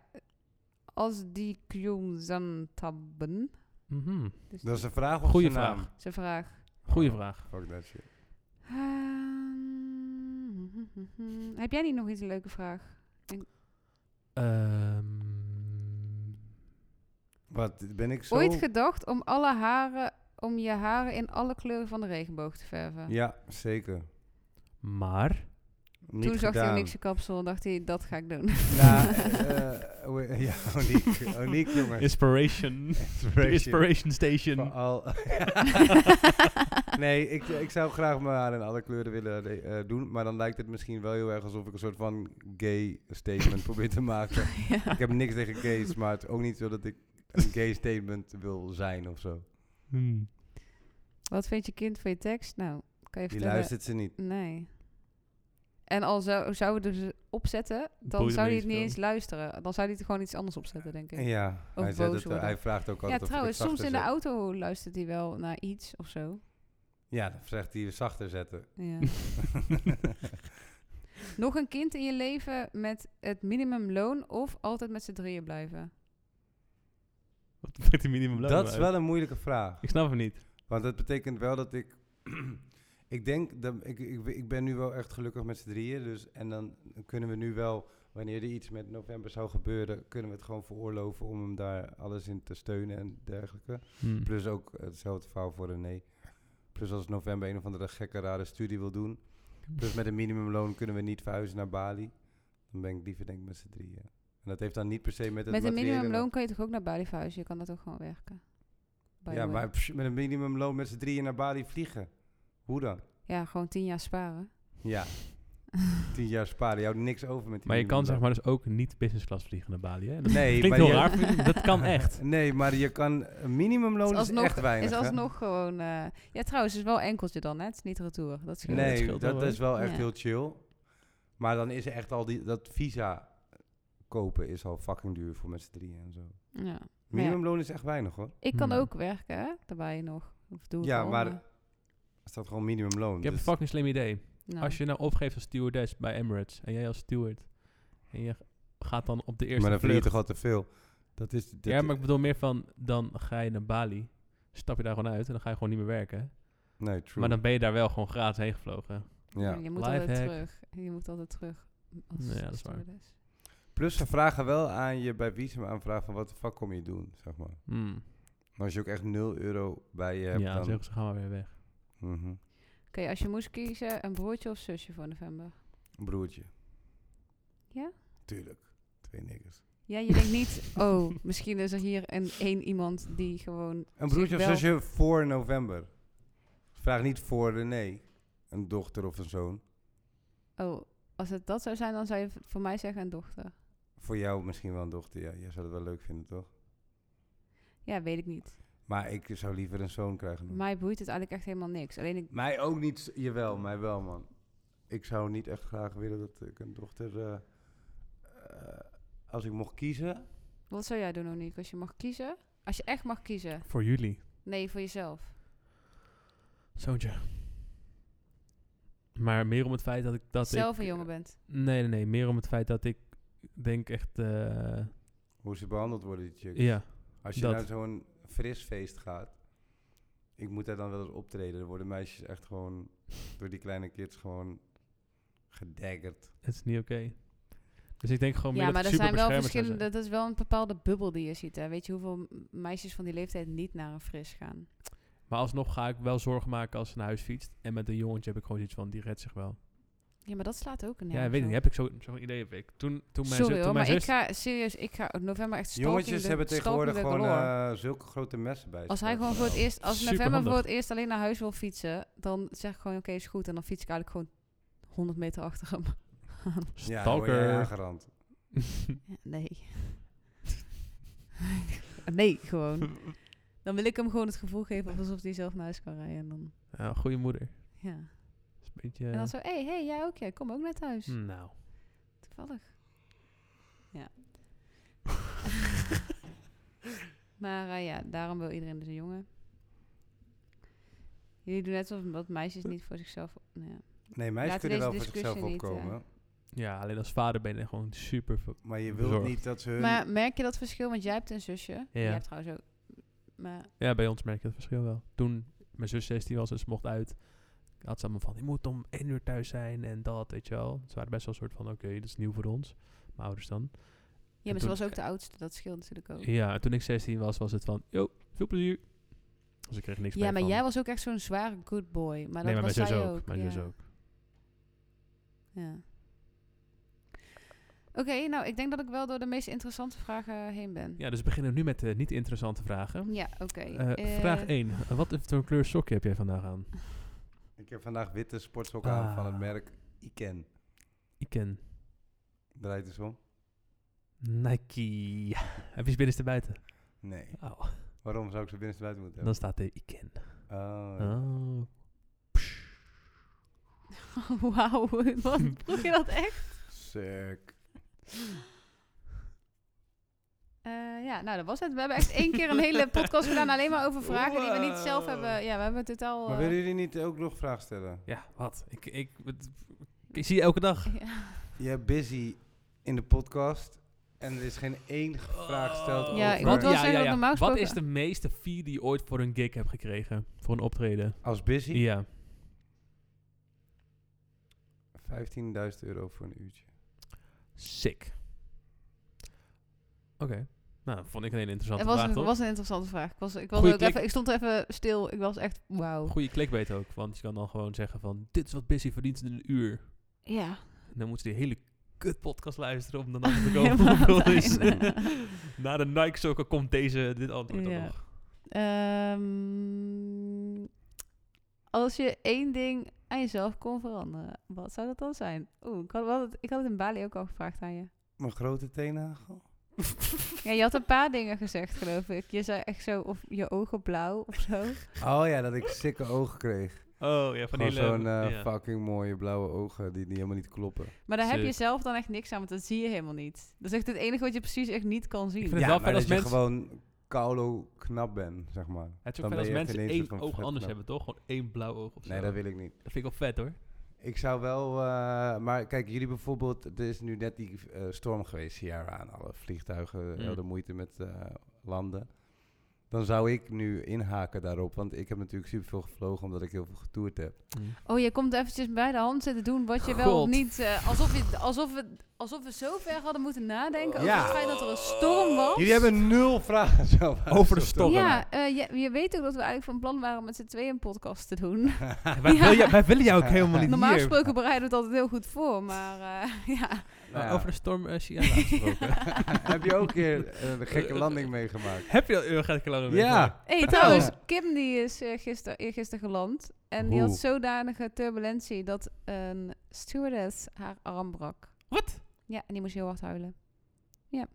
Speaker 2: Als die Kyungzantabben.
Speaker 3: Mhm.
Speaker 2: Dus
Speaker 1: Dat is een vraag of
Speaker 3: Goeie
Speaker 1: zijn naam?
Speaker 3: vraag.
Speaker 2: zijn vraag.
Speaker 3: Goeie vraag.
Speaker 1: Fuck that shit.
Speaker 2: Ehm, heb jij niet nog iets een leuke vraag?
Speaker 3: Ehm,
Speaker 1: Wat, ben ik zo...
Speaker 2: Ooit gedacht om alle haren, om je haren in alle kleuren van de regenboog te verven?
Speaker 1: Ja, zeker.
Speaker 3: maar.
Speaker 1: Niet
Speaker 2: Toen zag hij
Speaker 1: gedaan.
Speaker 2: hij niks kapsel en dacht hij, dat ga ik doen.
Speaker 1: Nou, eh, hoe- ja, Oniek, Oniek jongens.
Speaker 3: Inspiration.
Speaker 1: Inspiration.
Speaker 3: Inspiration Station.
Speaker 1: Vooral- nee, ik, ik zou graag mijn haar in alle kleuren willen eh, doen. Maar dan lijkt het misschien wel heel erg alsof ik een soort van gay statement probeer te maken.
Speaker 2: ja.
Speaker 1: Ik heb niks tegen gays, maar het is ook niet zo dat ik een gay statement wil zijn of zo.
Speaker 3: Hmm.
Speaker 2: Wat vindt je kind van je tekst? Nou, kan
Speaker 1: Die
Speaker 2: je vertellen.
Speaker 1: luistert ze niet.
Speaker 2: Nee. En al zou, zou we dus opzetten, dan
Speaker 3: Boeit
Speaker 2: zou hij
Speaker 3: me niet
Speaker 2: het niet
Speaker 3: veel.
Speaker 2: eens luisteren. Dan zou hij het gewoon iets anders opzetten, denk ik. Ja,
Speaker 1: Ja, hij,
Speaker 2: boos
Speaker 1: zet het, eh,
Speaker 2: worden.
Speaker 1: hij vraagt ook altijd of ik
Speaker 2: trouwens,
Speaker 1: het
Speaker 2: soms in
Speaker 1: zachter
Speaker 2: de
Speaker 1: zet.
Speaker 2: auto luistert hij wel naar iets of zo.
Speaker 1: Ja, dan zegt hij zachter zetten.
Speaker 2: Ja. Nog een kind in je leven met het minimumloon of altijd met z'n drieën blijven?
Speaker 3: Wat maakt die minimum
Speaker 1: Dat is wel een moeilijke vraag.
Speaker 3: Ik snap het niet.
Speaker 1: Want dat betekent wel dat ik. ik denk dat ik, ik, ik ben nu wel echt gelukkig met z'n drieën. Dus, en dan kunnen we nu wel, wanneer er iets met november zou gebeuren, kunnen we het gewoon veroorloven om hem daar alles in te steunen en dergelijke.
Speaker 3: Hmm.
Speaker 1: Plus ook hetzelfde verhaal voor René. Plus als november een of andere gekke rare studie wil doen. Plus met een minimumloon kunnen we niet verhuizen naar Bali. Dan ben ik liever denk ik met z'n drieën. En dat heeft dan niet per se met het
Speaker 2: met een
Speaker 1: materiële-
Speaker 2: minimumloon kan je toch ook naar Bali verhuizen? Je kan dat ook gewoon werken. By the
Speaker 1: Ja,
Speaker 2: way.
Speaker 1: maar psh, met een minimumloon met z'n drieën naar Bali vliegen. Hoe dan?
Speaker 2: Ja, gewoon tien jaar sparen.
Speaker 1: Ja. Tien jaar sparen. Je houdt niks over met die
Speaker 3: Maar je kan zeg
Speaker 1: minimumloon.
Speaker 3: maar dus ook niet business class vliegen naar Bali. Hè? Dat
Speaker 1: Nee, maar
Speaker 3: klinkt heel
Speaker 1: je-
Speaker 3: raar, vind ik, dat kan echt.
Speaker 1: Nee, maar je kan... Een minimumloon
Speaker 2: Is
Speaker 1: is,
Speaker 2: alsnog-
Speaker 1: echt weinig,
Speaker 2: is
Speaker 1: hè?
Speaker 2: alsnog gewoon... eh, ja, trouwens, het is wel enkeltje dan, hè? Het is niet retour. Dat is
Speaker 3: Ja, dat
Speaker 1: nee,
Speaker 3: scheelt
Speaker 1: dat,
Speaker 3: wel,
Speaker 1: is wel echt
Speaker 2: Ja.
Speaker 1: heel chill. Maar dan is er echt al die... Dat visa kopen is al fucking duur voor met z'n drieën en zo.
Speaker 2: Ja.
Speaker 1: Minimumloon is echt weinig, hoor.
Speaker 2: Ik kan
Speaker 3: Hmm.
Speaker 2: ook werken, hè? Daarbij nog. Of doe ik
Speaker 1: Ja,
Speaker 2: al,
Speaker 1: maar Er staat gewoon minimumloon.
Speaker 3: Ik heb een
Speaker 1: dus-
Speaker 3: fucking slim idee.
Speaker 2: nou.
Speaker 3: Als je nou opgeeft als stewardess bij Emirates en jij als steward en je gaat dan op de eerste
Speaker 1: maar dan verdien je
Speaker 3: vlucht.
Speaker 1: toch al te veel. Dat is... dat-
Speaker 3: ja, maar ik bedoel meer van dan ga je naar Bali, stap je daar gewoon uit en dan ga je gewoon niet meer werken.
Speaker 1: Nee, true.
Speaker 3: Maar dan ben je daar wel gewoon gratis heen gevlogen.
Speaker 1: ja.
Speaker 2: Je moet
Speaker 3: Lifehack.
Speaker 2: altijd terug. Je moet altijd terug. Als
Speaker 3: Ja, dat is waar.
Speaker 2: stewardess.
Speaker 1: Plus ze vragen wel aan je bij visum aanvragen van... Wat de fuck kom je doen, zeg maar.
Speaker 3: Hmm.
Speaker 1: Maar als je ook echt 0 euro bij je
Speaker 3: Ja,
Speaker 1: hebt,
Speaker 3: dan
Speaker 1: dan...
Speaker 3: zeggen ze gaan maar weer weg.
Speaker 1: Mhm.
Speaker 2: Oké, als je moest kiezen, een broertje of zusje voor november?
Speaker 1: Broertje.
Speaker 2: Ja?
Speaker 1: Tuurlijk. Twee niggers.
Speaker 2: Ja, je denkt niet, oh, misschien is er hier een, één iemand die gewoon...
Speaker 1: Een
Speaker 2: zich
Speaker 1: broertje of
Speaker 2: wel-
Speaker 1: zusje voor november. Vraag niet voor René. Een dochter of een zoon.
Speaker 2: Oh, als het dat zou zijn, dan zou je v- voor mij zeggen een dochter.
Speaker 1: Voor jou misschien wel een dochter. Ja, jij zou het wel leuk vinden, toch?
Speaker 2: Ja, weet ik niet.
Speaker 1: Maar ik zou liever een zoon krijgen. dan-
Speaker 2: Mij boeit het eigenlijk echt helemaal niks. Alleen ik...
Speaker 1: Mij ook niet. s- Jawel, mij wel, man. Ik zou niet echt graag willen dat ik een dochter... eh, eh, als ik mocht kiezen...
Speaker 2: Wat zou jij doen, Oniek, als je mag kiezen? Als je echt mag kiezen.
Speaker 3: Voor jullie.
Speaker 2: Nee, voor jezelf.
Speaker 3: Zoontje. Maar meer om het feit dat ik... Dat
Speaker 2: zelf
Speaker 3: ik,
Speaker 2: een jongen bent.
Speaker 3: Nee, nee, nee. Meer om het feit dat ik denk echt... eh,
Speaker 1: Hoe ze behandeld worden, die chicks.
Speaker 3: ja.
Speaker 1: Als je
Speaker 3: dat.
Speaker 1: naar zo'n fris feest gaat, ik moet daar dan wel eens optreden. Dan worden meisjes echt gewoon door die kleine kids gewoon gedaggerd.
Speaker 3: Het is niet oké. Dus ik denk gewoon meer
Speaker 2: Ja,
Speaker 3: dat
Speaker 2: maar er
Speaker 3: het
Speaker 2: zijn wel
Speaker 3: superbeschermend
Speaker 2: verschillende.
Speaker 3: zou
Speaker 2: Dat is wel een bepaalde bubbel die je ziet. Hè. Weet je hoeveel m- meisjes van die leeftijd niet naar een fris gaan?
Speaker 3: zijn. Maar alsnog ga ik wel zorgen maken als ze naar huis fietst. En met een jongetje heb ik gewoon zoiets van, die redt zich wel.
Speaker 2: Ja, maar dat slaat ook een
Speaker 3: Ja, weet ik niet. Heb ik zo- zo'n idee heb ik. Toen, toen mijn,
Speaker 2: Sorry
Speaker 3: zus,
Speaker 2: hoor,
Speaker 3: toen
Speaker 2: maar
Speaker 3: mijn
Speaker 2: ik
Speaker 3: zus...
Speaker 2: ga serieus, ik ga in november echt stalking
Speaker 1: Jongetjes
Speaker 2: de-
Speaker 1: hebben tegenwoordig
Speaker 2: stalking de
Speaker 1: gewoon
Speaker 2: galore.
Speaker 1: eh, zulke grote messen bij zich.
Speaker 2: Als hij gewoon voor het eerst, als november
Speaker 3: Superhandig.
Speaker 2: voor het eerst alleen naar huis wil fietsen, dan zeg ik gewoon oké, is goed. En dan fiets ik eigenlijk gewoon 100 meter achter hem.
Speaker 1: Ja, dan word jij
Speaker 3: Stalker.
Speaker 1: aangerand.
Speaker 2: Ja, Nee. nee, gewoon. Dan wil ik hem gewoon het gevoel geven alsof hij zelf naar huis kan rijden. En dan,
Speaker 3: Ja, goede moeder.
Speaker 2: ja.
Speaker 3: Is een beetje...
Speaker 2: En dan zo, hé, hey, hey, jij ook, jij kom ook net thuis.
Speaker 3: eh, Nou.
Speaker 2: Toevallig. Ja. maar eh, ja, daarom wil iedereen dus een jongen. Jullie doen net alsof dat meisjes niet voor zichzelf... Nou ja.
Speaker 1: Nee, meisjes
Speaker 2: Laten
Speaker 1: kunnen
Speaker 2: we
Speaker 1: wel voor
Speaker 2: deze
Speaker 1: zichzelf
Speaker 2: discussie niet, eh,
Speaker 1: opkomen.
Speaker 3: Ja, alleen als vader ben je gewoon super... ver-
Speaker 1: Maar je wilt
Speaker 3: Bezorgd.
Speaker 1: niet dat ze hun...
Speaker 2: Maar merk je dat verschil? Want jij hebt een zusje. Ja. Jij hebt trouwens ook... Maar
Speaker 3: Ja, bij ons merk je het verschil wel. Toen mijn zus 16 was en ze mocht uit, had ze allemaal van, je moet om één uur thuis zijn en dat, weet je wel. Ze waren best wel een soort van, oké, dat is nieuw voor ons, mijn ouders dan.
Speaker 2: Ja, maar ze
Speaker 3: toen-
Speaker 2: was ook de oudste, dat scheelt natuurlijk ook.
Speaker 3: Ja, en toen ik 16 was, was het van, yo, veel plezier. Dus ik kreeg niks
Speaker 2: Ja,
Speaker 3: mee
Speaker 2: maar
Speaker 3: van-
Speaker 2: jij was ook echt zo'n zware good boy. Maar dat
Speaker 3: Nee, maar
Speaker 2: was
Speaker 3: mijn zus
Speaker 2: zij
Speaker 3: ook. Mijn
Speaker 2: ja.
Speaker 3: zus ook.
Speaker 2: Ja. Oké, nou, ik denk dat ik wel door de meest interessante vragen heen ben.
Speaker 3: Ja, dus we beginnen nu met de niet interessante vragen.
Speaker 2: Ja, oké.
Speaker 3: Eh,
Speaker 2: Eh,
Speaker 3: vraag 1. Wat voor kleur sokje heb jij vandaag aan?
Speaker 1: Ik heb vandaag witte sportsokken aan van het
Speaker 3: Ah.
Speaker 1: merk Iken.
Speaker 3: Ik ken
Speaker 1: Draait eens om?
Speaker 3: Nike. heb je ze binnenste buiten?
Speaker 1: Nee.
Speaker 3: Oh,
Speaker 1: Waarom zou ik ze binnenste buiten moeten
Speaker 3: dan
Speaker 1: hebben?
Speaker 3: staat er Iken.
Speaker 1: Oh, ja.
Speaker 3: Oh.
Speaker 2: Wauw, wat vroeg je dat echt?
Speaker 1: Sick.
Speaker 2: Eh, ja, nou, dat was het. We hebben echt één keer een hele podcast gedaan alleen maar over vragen die we niet zelf hebben. Ja, we hebben totaal...
Speaker 1: Maar
Speaker 2: eh,
Speaker 1: willen jullie niet ook nog vragen stellen?
Speaker 3: Ja, wat? Ik, ik, het- ik zie je elke dag.
Speaker 2: ja.
Speaker 1: Je hebt busy in de podcast en er is geen één vraag gesteld
Speaker 2: Ja, ik
Speaker 1: over...
Speaker 2: moet wel zeggen dat normaal
Speaker 3: Wat
Speaker 2: gesproken-
Speaker 3: is de meeste fee die je ooit voor een gig hebt gekregen? Voor een optreden?
Speaker 1: Als busy?
Speaker 3: Ja.
Speaker 1: 15.000 euro voor een uurtje.
Speaker 3: Sick. Oké. Nou, vond ik een hele
Speaker 2: Het
Speaker 3: interessante
Speaker 2: was,
Speaker 3: vraag,
Speaker 2: een-
Speaker 3: toch?
Speaker 2: was een interessante vraag. Ik, was, ik, wilde
Speaker 3: Goeie
Speaker 2: ook
Speaker 3: klik.
Speaker 2: even, ik stond even stil. Ik was echt, wauw.
Speaker 3: Goede clickbait ook, want je kan dan gewoon zeggen van... Dit is wat Busy verdient in een uur.
Speaker 2: Ja.
Speaker 3: En dan moeten ze die hele kut podcast luisteren om dan achter te komen
Speaker 2: Helemaal
Speaker 3: hoeveel
Speaker 2: aan het
Speaker 3: is.
Speaker 2: einde.
Speaker 3: Na de Nike sokken komt deze, dit antwoord dan
Speaker 2: Ja.
Speaker 3: nog.
Speaker 2: Ehm, als je één ding aan jezelf kon veranderen, wat zou dat dan zijn? Oeh, ik had, wel het, ik had het in Bali ook al gevraagd aan je.
Speaker 1: Mijn grote teennagel?
Speaker 2: Ja, je had een paar dingen gezegd, geloof ik. Je zei echt zo, of je ogen blauw of zo.
Speaker 1: Oh ja, dat ik sikke ogen kreeg.
Speaker 3: Oh ja, van
Speaker 1: Gewoon
Speaker 3: die hele...
Speaker 1: zo'n eh,
Speaker 3: ja.
Speaker 1: fucking mooie blauwe ogen die, die helemaal niet kloppen.
Speaker 2: Maar daar heb je
Speaker 3: Sick.
Speaker 2: zelf dan echt niks aan, want dat zie je helemaal niet. Dat is echt het enige wat je precies echt niet kan zien.
Speaker 3: vind het wel
Speaker 1: maar
Speaker 3: fijn
Speaker 1: dat
Speaker 3: als
Speaker 1: je
Speaker 3: mensen-
Speaker 1: gewoon koulo knap bent, zeg maar.
Speaker 3: Het is
Speaker 1: Dan
Speaker 3: ook
Speaker 1: ben
Speaker 3: vet als
Speaker 1: je echt
Speaker 3: mensen
Speaker 1: ineens
Speaker 3: één
Speaker 1: een
Speaker 3: oog
Speaker 1: vet
Speaker 3: anders
Speaker 1: knap.
Speaker 3: hebben, toch? Gewoon één blauw oog of zo.
Speaker 1: Nee, dat wil ik niet.
Speaker 3: Dat vind ik wel vet, hoor.
Speaker 1: Ik zou wel, eh, maar kijk, jullie bijvoorbeeld, er is nu net die eh, storm geweest, Sierra aan alle vliegtuigen,
Speaker 3: Mm.
Speaker 1: heel de moeite met eh, landen. Dan zou ik nu inhaken daarop, want ik heb natuurlijk superveel gevlogen omdat ik heel veel getoerd heb.
Speaker 2: Oh, je komt eventjes bij de hand zitten doen wat je wel of
Speaker 3: God.
Speaker 2: niet... eh, alsof, je, alsof, we, alsof we zo ver hadden moeten nadenken
Speaker 1: Ja.
Speaker 2: over het feit dat er een storm was.
Speaker 1: Jullie hebben nul vragen zo.
Speaker 3: Over de storm.
Speaker 2: Ja, eh, je, je weet ook dat we eigenlijk van plan waren om met z'n tweeën een podcast te doen.
Speaker 3: Wij,
Speaker 2: Ja.
Speaker 3: willen jou, wij willen jou ook helemaal niet
Speaker 2: Normaal
Speaker 3: hier.
Speaker 2: gesproken bereiden we het altijd heel goed voor, maar eh, ja.
Speaker 1: Nou ja.
Speaker 3: Over de storm eh, Sierra gesproken.
Speaker 1: heb je ook een keer eh, een gekke landing meegemaakt?
Speaker 3: Heb je al eeuwig uit Colombia?
Speaker 1: Ja,
Speaker 2: Hey, trouwens, Kim die is eh, gister, eergisteren geland en die had
Speaker 1: Oeh.
Speaker 2: zodanige turbulentie dat een stewardess haar arm brak.
Speaker 3: Wat?
Speaker 2: Ja, en die moest heel hard huilen.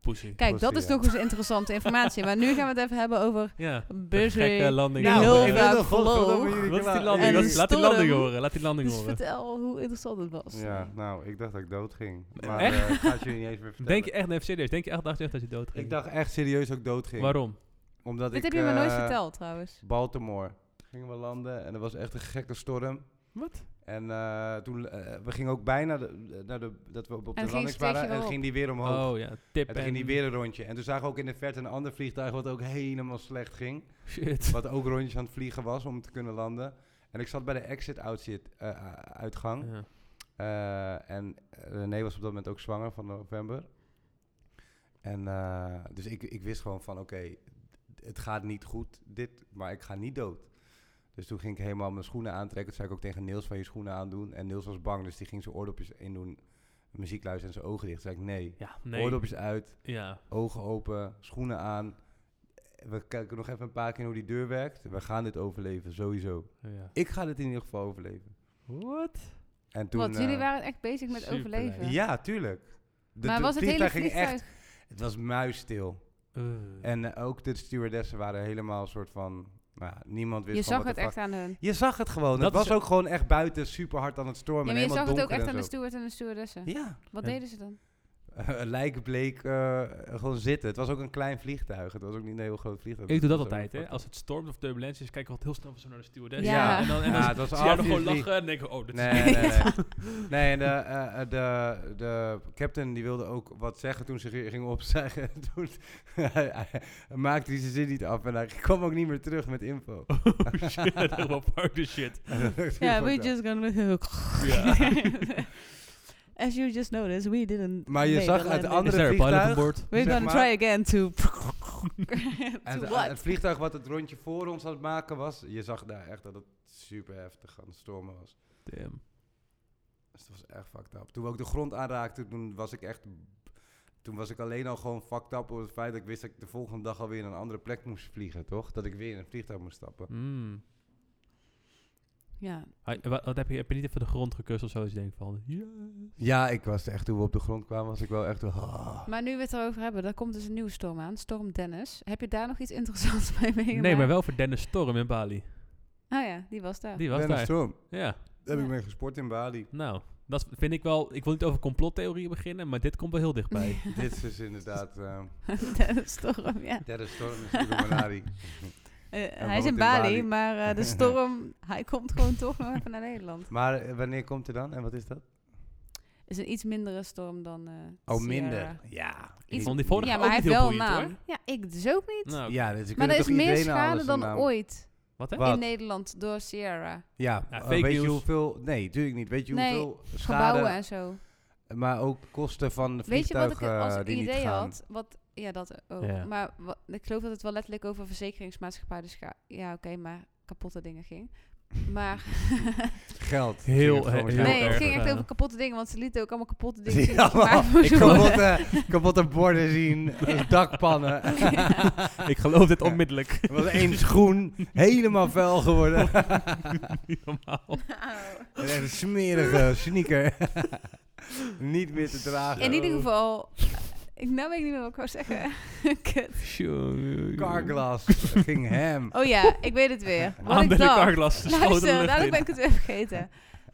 Speaker 3: Pussy.
Speaker 2: Kijk,
Speaker 1: was
Speaker 2: dat
Speaker 1: die,
Speaker 2: is
Speaker 1: ja.
Speaker 2: nog eens interessante informatie, maar nu gaan we het even hebben over
Speaker 3: Ja. De gekke
Speaker 2: busy.
Speaker 3: landing.
Speaker 2: Nou,
Speaker 3: Heel
Speaker 2: ik
Speaker 3: vaak.
Speaker 2: wil vaak geloof.
Speaker 3: Wat is die
Speaker 2: En
Speaker 3: landing? Laat, laat die
Speaker 2: storm.
Speaker 3: landing horen. Laat die landing
Speaker 2: Dus
Speaker 3: horen.
Speaker 2: vertel hoe interessant het was.
Speaker 1: Ja, nou, ik dacht dat ik dood ging.
Speaker 3: Nee,
Speaker 1: Maar
Speaker 3: echt?
Speaker 1: eh, ik ga het jullie niet eens meer vertellen.
Speaker 3: Denk je echt, nee, even serieus. Denk je echt, dacht je echt dat je dood ging?
Speaker 1: Ik dacht echt serieus dat ik dood ging.
Speaker 3: Waarom?
Speaker 1: Omdat
Speaker 2: Dit
Speaker 1: ik,
Speaker 2: heb je me nooit
Speaker 1: eh,
Speaker 2: verteld trouwens.
Speaker 1: Baltimore. Gingen we landen en er was echt een gekke storm.
Speaker 3: Wat?
Speaker 1: En eh, toen, eh, we gingen ook bijna de- naar de, dat we op, op de
Speaker 2: En
Speaker 1: landings
Speaker 2: ging het steekje
Speaker 1: waren en
Speaker 2: wel
Speaker 1: ging die weer omhoog.
Speaker 5: Oh ja, tip
Speaker 1: En toen
Speaker 5: en...
Speaker 1: ging die weer een rondje. En toen zagen we ook in de verte een ander vliegtuig wat ook helemaal slecht ging.
Speaker 5: Shit.
Speaker 1: Wat ook rondjes aan het vliegen was om te kunnen landen. En ik zat bij de exit-uitgang. uitgang.
Speaker 5: Ja.
Speaker 1: Eh, en René was op dat moment ook zwanger van november. En eh, dus ik, ik wist gewoon van oké, d- het gaat niet goed dit, maar ik ga niet dood. Dus toen ging ik helemaal mijn schoenen aantrekken. Toen zei ik ook tegen Niels van je schoenen aandoen. En Niels was bang, dus die ging zijn oordopjes indoen, muziek luisteren en zijn ogen dicht. Toen zei ik nee,
Speaker 5: Ja, nee.
Speaker 1: oordopjes uit,
Speaker 5: Ja.
Speaker 1: ogen open, schoenen aan. We kijken nog even een paar keer hoe die deur werkt. We gaan dit overleven, sowieso.
Speaker 5: ja.
Speaker 1: Ik ga dit in ieder geval overleven.
Speaker 5: What?
Speaker 1: En toen,
Speaker 2: Want jullie
Speaker 1: eh,
Speaker 2: waren echt bezig met
Speaker 5: superleuk.
Speaker 2: overleven.
Speaker 1: ja, tuurlijk. De,
Speaker 2: maar
Speaker 1: de
Speaker 2: was het hele
Speaker 1: vliegtuig ging
Speaker 2: vliegtuig...
Speaker 1: echt... Het was muisstil. En eh, ook de stewardessen waren helemaal een soort van... Nou, ja, niemand wist
Speaker 2: je
Speaker 1: gewoon
Speaker 2: zag
Speaker 1: wat
Speaker 2: het
Speaker 1: de
Speaker 2: echt
Speaker 1: fuck-
Speaker 2: aan hun.
Speaker 1: Je zag het gewoon.
Speaker 5: Dat
Speaker 1: het was
Speaker 5: is-
Speaker 1: ook gewoon echt buiten super hard aan het
Speaker 2: Ja,
Speaker 1: stormen.
Speaker 2: maar
Speaker 1: en
Speaker 2: je
Speaker 1: helemaal
Speaker 2: zag het ook
Speaker 1: donker en
Speaker 2: echt aan
Speaker 1: zo.
Speaker 2: de steward en de stewardessen.
Speaker 1: Ja.
Speaker 2: Wat
Speaker 5: En-
Speaker 2: deden ze dan?
Speaker 1: Een lijk bleek eh, gewoon zitten. Het was ook een klein vliegtuig. Het was ook niet een heel groot vliegtuig.
Speaker 5: Ik doe dat
Speaker 1: Het was
Speaker 5: altijd,
Speaker 1: ook
Speaker 5: hè.
Speaker 1: een
Speaker 5: Als het stormt of turbulentie is, kijk ik altijd heel snel zo naar de stewardess.
Speaker 2: Ja.
Speaker 5: En dan, en dan
Speaker 1: Ja, het was
Speaker 5: zie jij nog gewoon
Speaker 1: obviously-
Speaker 5: lachen en denk ik, oh, dit
Speaker 1: Nee,
Speaker 5: is...
Speaker 1: nee, nee. nee en de, eh, eh, de, de captain die wilde ook wat zeggen toen ze ging opzeggen. Toen hij, hij maakte hij zijn zin niet af en hij kwam ook niet meer terug met info.
Speaker 5: Oh, shit, helemaal fuck the shit.
Speaker 2: Ja, we just gonna...
Speaker 5: Ja.
Speaker 2: As you just noticed, we didn't...
Speaker 1: Maar je
Speaker 2: make
Speaker 1: zag
Speaker 2: a
Speaker 1: uit de
Speaker 2: landing.
Speaker 1: andere vliegtuig...
Speaker 5: board?
Speaker 2: We're
Speaker 1: zeg
Speaker 2: gonna
Speaker 1: maar-
Speaker 2: try again to...
Speaker 1: Het,
Speaker 2: to
Speaker 1: het
Speaker 2: what?
Speaker 1: vliegtuig wat het rondje voor ons aan het maken was, je zag daar echt dat het super heftig aan het stormen was.
Speaker 5: Damn.
Speaker 1: Dus dat was echt fucked up. Toen we ook de grond aanraakten, toen was ik echt... Toen was ik alleen al gewoon fucked up op het feit dat ik wist dat ik de volgende dag alweer naar een andere plek moest vliegen, toch? Dat ik weer in een vliegtuig moest stappen.
Speaker 5: Mm.
Speaker 2: Ja,
Speaker 5: Hai, wa- wat heb, je, heb je niet even de grond gekust of zo? Dus je denkt van, yes.
Speaker 1: Ja, ik was echt, toen we op de grond kwamen, was ik wel echt... ah.
Speaker 2: maar nu we het erover hebben, daar komt dus een nieuwe storm aan. Storm Dennis. Heb je daar nog iets interessants bij meegemaakt?
Speaker 5: Nee, maar wel voor Dennis Storm in Bali.
Speaker 2: Oh ja, die was daar.
Speaker 5: Die was
Speaker 1: Dennis
Speaker 5: daar.
Speaker 1: Storm.
Speaker 5: Ja,
Speaker 1: Daar heb
Speaker 2: Ja.
Speaker 1: ik mee gesport in Bali.
Speaker 5: nou. Dat vind ik wel... Ik wil niet over complottheorieën beginnen, maar dit komt wel heel dichtbij.
Speaker 1: Dit is inderdaad... eh
Speaker 2: Dennis Storm, ja.
Speaker 1: Dennis Storm is de Manari.
Speaker 2: Eh, hij
Speaker 1: woont
Speaker 2: is in
Speaker 1: in
Speaker 2: Bali,
Speaker 1: Bali.
Speaker 2: maar eh, de storm, hij komt gewoon toch nog even naar Nederland.
Speaker 1: Maar eh, wanneer komt hij dan en wat is dat?
Speaker 2: Het is een iets mindere storm dan. eh
Speaker 1: Oh,
Speaker 2: Sierra.
Speaker 1: minder. Ja.
Speaker 2: Iets-
Speaker 5: Vond die vorige
Speaker 2: Ja,
Speaker 5: ook
Speaker 2: maar hij
Speaker 5: niet
Speaker 2: heeft
Speaker 5: heel
Speaker 2: wel een
Speaker 5: boeiend,
Speaker 2: naam.
Speaker 5: hoor.
Speaker 2: Ja, ik dus ook niet.
Speaker 5: Nou,
Speaker 1: Ja, dus ze
Speaker 2: maar er
Speaker 1: kunnen
Speaker 2: is
Speaker 1: toch
Speaker 2: meer
Speaker 1: iedereen aan
Speaker 2: schade
Speaker 1: alles
Speaker 2: dan
Speaker 1: een naam-
Speaker 2: ooit
Speaker 5: Wat hè?
Speaker 1: eh, Wat?
Speaker 2: in Nederland door Sierra.
Speaker 1: Ja,
Speaker 5: Ja,
Speaker 1: eh,
Speaker 5: fake
Speaker 1: weet je
Speaker 5: news.
Speaker 1: hoeveel... Nee, natuurlijk niet. Weet je
Speaker 2: Nee,
Speaker 1: hoeveel
Speaker 2: Gebouwen
Speaker 1: schade...
Speaker 2: en zo.
Speaker 1: Maar ook kosten van
Speaker 2: Weet je wat ik
Speaker 1: vliegtuigen
Speaker 2: als
Speaker 1: eh, die niet
Speaker 2: idee
Speaker 1: gaan.
Speaker 2: had? Wat, ja, dat ook.
Speaker 5: Ja.
Speaker 2: Maar wa- ik geloof dat het wel letterlijk over verzekeringsmaatschappij. Dus ga- ja, oké, maar kapotte dingen ging. Maar
Speaker 1: Geld.
Speaker 5: Heel,
Speaker 1: Ging gewoon
Speaker 5: eh,
Speaker 1: geld
Speaker 2: nee, het
Speaker 1: over.
Speaker 2: ging echt
Speaker 5: eh,
Speaker 2: over kapotte dingen, want ze lieten ook allemaal kapotte dingen
Speaker 1: Zie
Speaker 2: zien.
Speaker 1: je allemaal
Speaker 2: gemaakt moesten worden.
Speaker 1: kapotte, eh, kapotte borden zien, dakpannen.
Speaker 5: Ik geloof dit onmiddellijk.
Speaker 1: Er was één schoen, helemaal vuil geworden.
Speaker 5: Niet normaal.
Speaker 2: Nou.
Speaker 1: En Een smerige sneaker. Niet meer te dragen.
Speaker 2: In ieder geval, ik, nou weet ik niet meer wat ik wou zeggen. Kut.
Speaker 1: Carglass ging hem.
Speaker 2: Oh ja, ik weet het weer. Wat
Speaker 5: Aan
Speaker 2: ik
Speaker 5: de
Speaker 2: dacht.
Speaker 5: karglas. de schoot de
Speaker 2: Luister,
Speaker 5: lucht
Speaker 2: dadelijk ben
Speaker 5: in.
Speaker 2: ik het weer vergeten.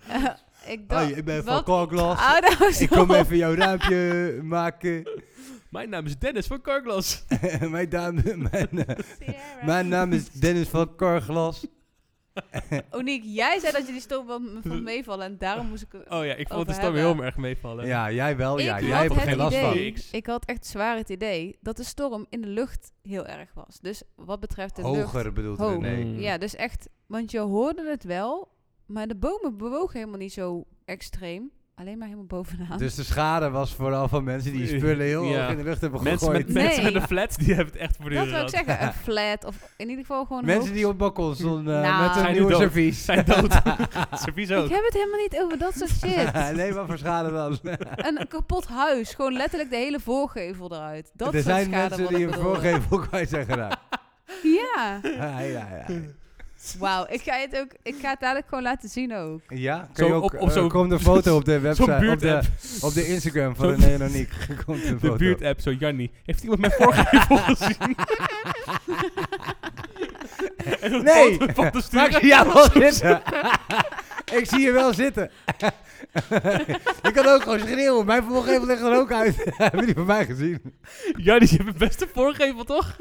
Speaker 2: Eh, ik dacht,
Speaker 1: Hoi, Oh, ik ben van
Speaker 2: wat-
Speaker 1: Carglass.
Speaker 2: Ah, dat was
Speaker 1: Ik kom
Speaker 2: op.
Speaker 1: even jouw raampje maken.
Speaker 5: Mijn naam is Dennis van Karglas.
Speaker 1: mijn, dame, mijn, eh,
Speaker 2: Sierra.
Speaker 1: mijn naam is Dennis van Carglass.
Speaker 2: Oniek, jij zei dat je die storm van, van meevallen en daarom moest ik...
Speaker 5: Oh ja, ik vond
Speaker 2: Over
Speaker 5: de storm
Speaker 2: hebben.
Speaker 5: heel erg meevallen.
Speaker 1: Ja, jij wel.
Speaker 2: Ik
Speaker 1: Oh Ja.
Speaker 2: had
Speaker 1: Jij hebt er
Speaker 2: het
Speaker 1: geen last
Speaker 2: idee,
Speaker 1: van.
Speaker 5: Niks.
Speaker 2: Ik had echt zwaar het idee dat de storm in de lucht heel erg was. Dus wat betreft de lucht...
Speaker 1: Hoger bedoelt
Speaker 2: Hoog.
Speaker 1: René.
Speaker 5: Mm.
Speaker 2: Ja, dus echt, want je hoorde het wel, maar de bomen bewogen helemaal niet zo extreem. Alleen maar helemaal bovenaan.
Speaker 1: Dus de schade was vooral van mensen die spullen heel
Speaker 5: Ja.
Speaker 1: hoog in de lucht hebben gegooid.
Speaker 5: Mensen met,
Speaker 2: Nee.
Speaker 5: mensen met een flat, die hebben het echt voor de
Speaker 2: dat
Speaker 5: deur
Speaker 2: wil ik
Speaker 5: gehad.
Speaker 2: zeggen, een flat of in ieder geval gewoon een
Speaker 1: Mensen die
Speaker 2: hoog-
Speaker 1: op het balkon stonden eh,
Speaker 2: Nou.
Speaker 1: met een
Speaker 5: Zijn nu
Speaker 1: nieuwe
Speaker 5: dood.
Speaker 1: servies.
Speaker 5: Zijn dood. Servies ook.
Speaker 2: Ik heb het helemaal niet over dat soort shit.
Speaker 1: nee, maar voor schade dan.
Speaker 2: een kapot huis, gewoon letterlijk de hele voorgevel eruit. Dat
Speaker 1: er
Speaker 2: soort
Speaker 1: zijn
Speaker 2: schade
Speaker 1: mensen
Speaker 2: wat ik
Speaker 1: die een
Speaker 2: bedoelde.
Speaker 1: voorgevel kwijt zijn geraakt.
Speaker 2: Ja,
Speaker 1: ja, ja, ja.
Speaker 2: wauw. Ik ga het ook, ik ga het dadelijk gewoon laten zien ook.
Speaker 1: Ja, kun
Speaker 5: Zo
Speaker 1: je ook,
Speaker 5: op- op
Speaker 1: eh,
Speaker 5: zo'n-
Speaker 1: komt een foto op de
Speaker 5: Zo'n
Speaker 1: website, op
Speaker 5: buurtapp.
Speaker 1: de, op de Instagram van
Speaker 5: Zo'n-
Speaker 1: René en Aniek. Komt een
Speaker 5: De
Speaker 1: foto.
Speaker 5: buurtapp, zo Janni. Heeft iemand mijn voorgevel gezien? En een
Speaker 1: Nee.
Speaker 5: foto van te sturen.
Speaker 1: Maak je jou wel zitten? Ik zie je wel zitten. ik kan ook gewoon schreeuwen. Mijn voorgevel ligt er ook uit. Hebben jullie van mij gezien?
Speaker 5: Janni, je hebt het beste voorgevel, toch?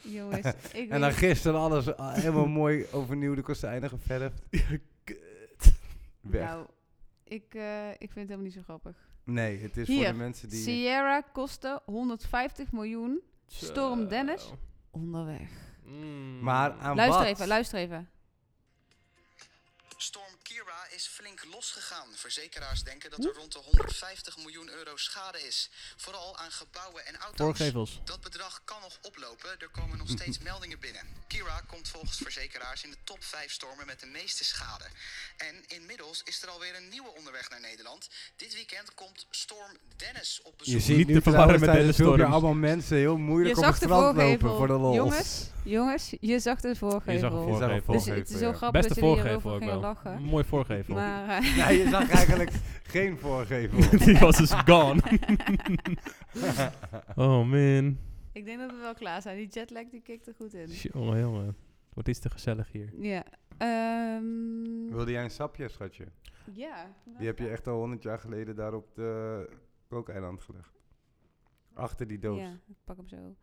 Speaker 2: Jongens,
Speaker 1: En
Speaker 2: ik weet
Speaker 1: dan
Speaker 2: het.
Speaker 1: gisteren alles ah, helemaal mooi overnieuw de kozijnen geverfd. Weg.
Speaker 2: Nou, ik, eh, ik vind het helemaal niet zo grappig.
Speaker 1: Nee, het is
Speaker 2: Hier,
Speaker 1: voor de mensen die...
Speaker 2: Sierra kostte 150 miljoen
Speaker 1: Eh,
Speaker 2: Storm Dennis? onderweg.
Speaker 1: Maar aan
Speaker 2: luister
Speaker 1: wat?
Speaker 2: even, luister even.
Speaker 6: Storm Kira is flink losgegaan. Verzekeraars denken dat er
Speaker 1: Hm?
Speaker 6: rond de 150 miljoen euro schade is. Vooral aan gebouwen en auto's.
Speaker 3: Voorgevels.
Speaker 6: Dat bedrag kan nog oplopen. Er komen nog
Speaker 1: Hm.
Speaker 6: steeds meldingen binnen. Kira komt volgens verzekeraars in de top 5 stormen met de meeste schade. En inmiddels is er alweer een nieuwe onderweg naar Nederland. Dit weekend komt Storm Dennis op bezoek.
Speaker 1: Je ziet
Speaker 3: Niet
Speaker 1: nu
Speaker 3: te verwarren
Speaker 1: trouwens
Speaker 3: met
Speaker 1: tijdens het
Speaker 3: Dennis
Speaker 1: filmpje
Speaker 3: Storms.
Speaker 1: allemaal mensen heel moeilijk op
Speaker 2: Je
Speaker 1: het
Speaker 2: zag de
Speaker 1: strand lopen
Speaker 2: voorgevel.
Speaker 1: voor de lol.
Speaker 2: Jongens, Jongens, je zag de voorgevel.
Speaker 3: Je zag een
Speaker 1: Je zag een
Speaker 3: voorgevel.
Speaker 2: Dus
Speaker 1: voorgevel,
Speaker 2: het is heel
Speaker 1: ja.
Speaker 2: grappig
Speaker 3: Beste
Speaker 2: dat jullie hierover
Speaker 3: voorgevel ook
Speaker 2: gingen
Speaker 3: wel.
Speaker 2: lachen.
Speaker 3: Mooi voorgevel.
Speaker 2: Maar eh,
Speaker 1: Mm. Ja, je zag eigenlijk geen voorgevel.
Speaker 3: Die was dus gone. oh man.
Speaker 2: ik denk dat we wel klaar zijn. Die jetlag die kikt er goed in.
Speaker 3: Jongen, jongen. Wordt iets te gezellig hier.
Speaker 2: Ja. Ehm,
Speaker 1: Wilde jij een sapje, schatje?
Speaker 2: ja.
Speaker 1: Die heb je echt al honderd jaar geleden daar op de kookeiland gelegd. Achter die doos.
Speaker 2: Ja, ik pak hem zo.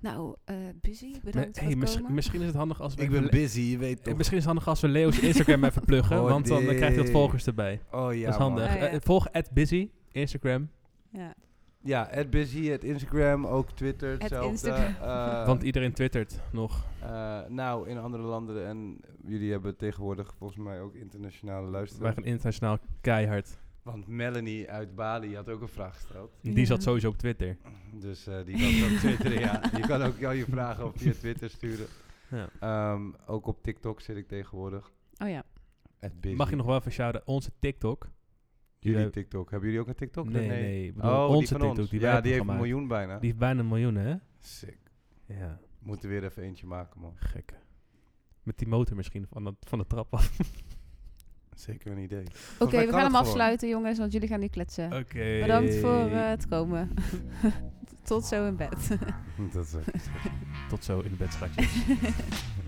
Speaker 2: Nou, eh Busy, bedankt
Speaker 3: Maar,
Speaker 2: voor
Speaker 3: hey,
Speaker 2: het
Speaker 3: miss-
Speaker 2: komen.
Speaker 3: misschien is het handig als we
Speaker 1: Ik
Speaker 3: even
Speaker 1: ben
Speaker 3: Le-
Speaker 1: busy, je weet
Speaker 3: Eh,
Speaker 1: toch.
Speaker 3: Misschien is het handig als we Leo's Instagram even pluggen,
Speaker 1: Oh,
Speaker 3: want dan eh, krijgt hij wat
Speaker 1: nee.
Speaker 3: volgers erbij.
Speaker 1: Oh ja,
Speaker 3: dat is handig.
Speaker 1: man.
Speaker 2: Ah, ja.
Speaker 3: Eh, volg busy Instagram,
Speaker 2: Ja.
Speaker 1: Ja, at busy, at Instagram, ook Twitter, hetzelfde.
Speaker 2: Instagram.
Speaker 1: Eh,
Speaker 3: want iedereen twittert nog.
Speaker 1: eh, nou, in andere landen en jullie hebben tegenwoordig volgens mij ook internationale
Speaker 3: Wij
Speaker 1: luisteraars.
Speaker 3: gaan internationaal keihard.
Speaker 1: Want Melanie uit Bali had ook een vraag gesteld.
Speaker 3: Die
Speaker 2: Ja.
Speaker 3: zat sowieso op Twitter.
Speaker 1: Dus eh, die kan ook twitteren, ja. Je kan ook al je vragen op via Twitter sturen.
Speaker 3: Ja.
Speaker 1: Ehm, ook op TikTok zit ik tegenwoordig.
Speaker 2: Oh ja.
Speaker 1: At busy.
Speaker 3: Mag je nog wel even shouten? Onze TikTok.
Speaker 1: Jullie
Speaker 3: Eh,
Speaker 1: TikTok. Hebben jullie ook een TikTok?
Speaker 3: nee, nee. ik bedoel,
Speaker 1: oh, die
Speaker 3: onze
Speaker 1: van
Speaker 3: TikTok.
Speaker 1: ons.
Speaker 3: Die wij
Speaker 1: ja,
Speaker 3: hebben
Speaker 1: die heeft een
Speaker 3: gemaakt.
Speaker 1: miljoen bijna.
Speaker 3: Die heeft bijna een miljoen, hè?
Speaker 1: Sick.
Speaker 3: Ja,
Speaker 1: Moeten weer even eentje maken, man.
Speaker 3: gekke. Met die motor misschien van de, van de trap af.
Speaker 1: Zeker een idee.
Speaker 2: Oké,
Speaker 1: mij
Speaker 2: we
Speaker 1: kan
Speaker 2: gaan hem
Speaker 1: het
Speaker 2: afsluiten, jongens, want jullie gaan nu kletsen.
Speaker 3: Oké.
Speaker 2: Bedankt voor eh, het komen. Tot zo in bed.
Speaker 1: Dat is eh,
Speaker 3: Tot zo in de bed, schatjes.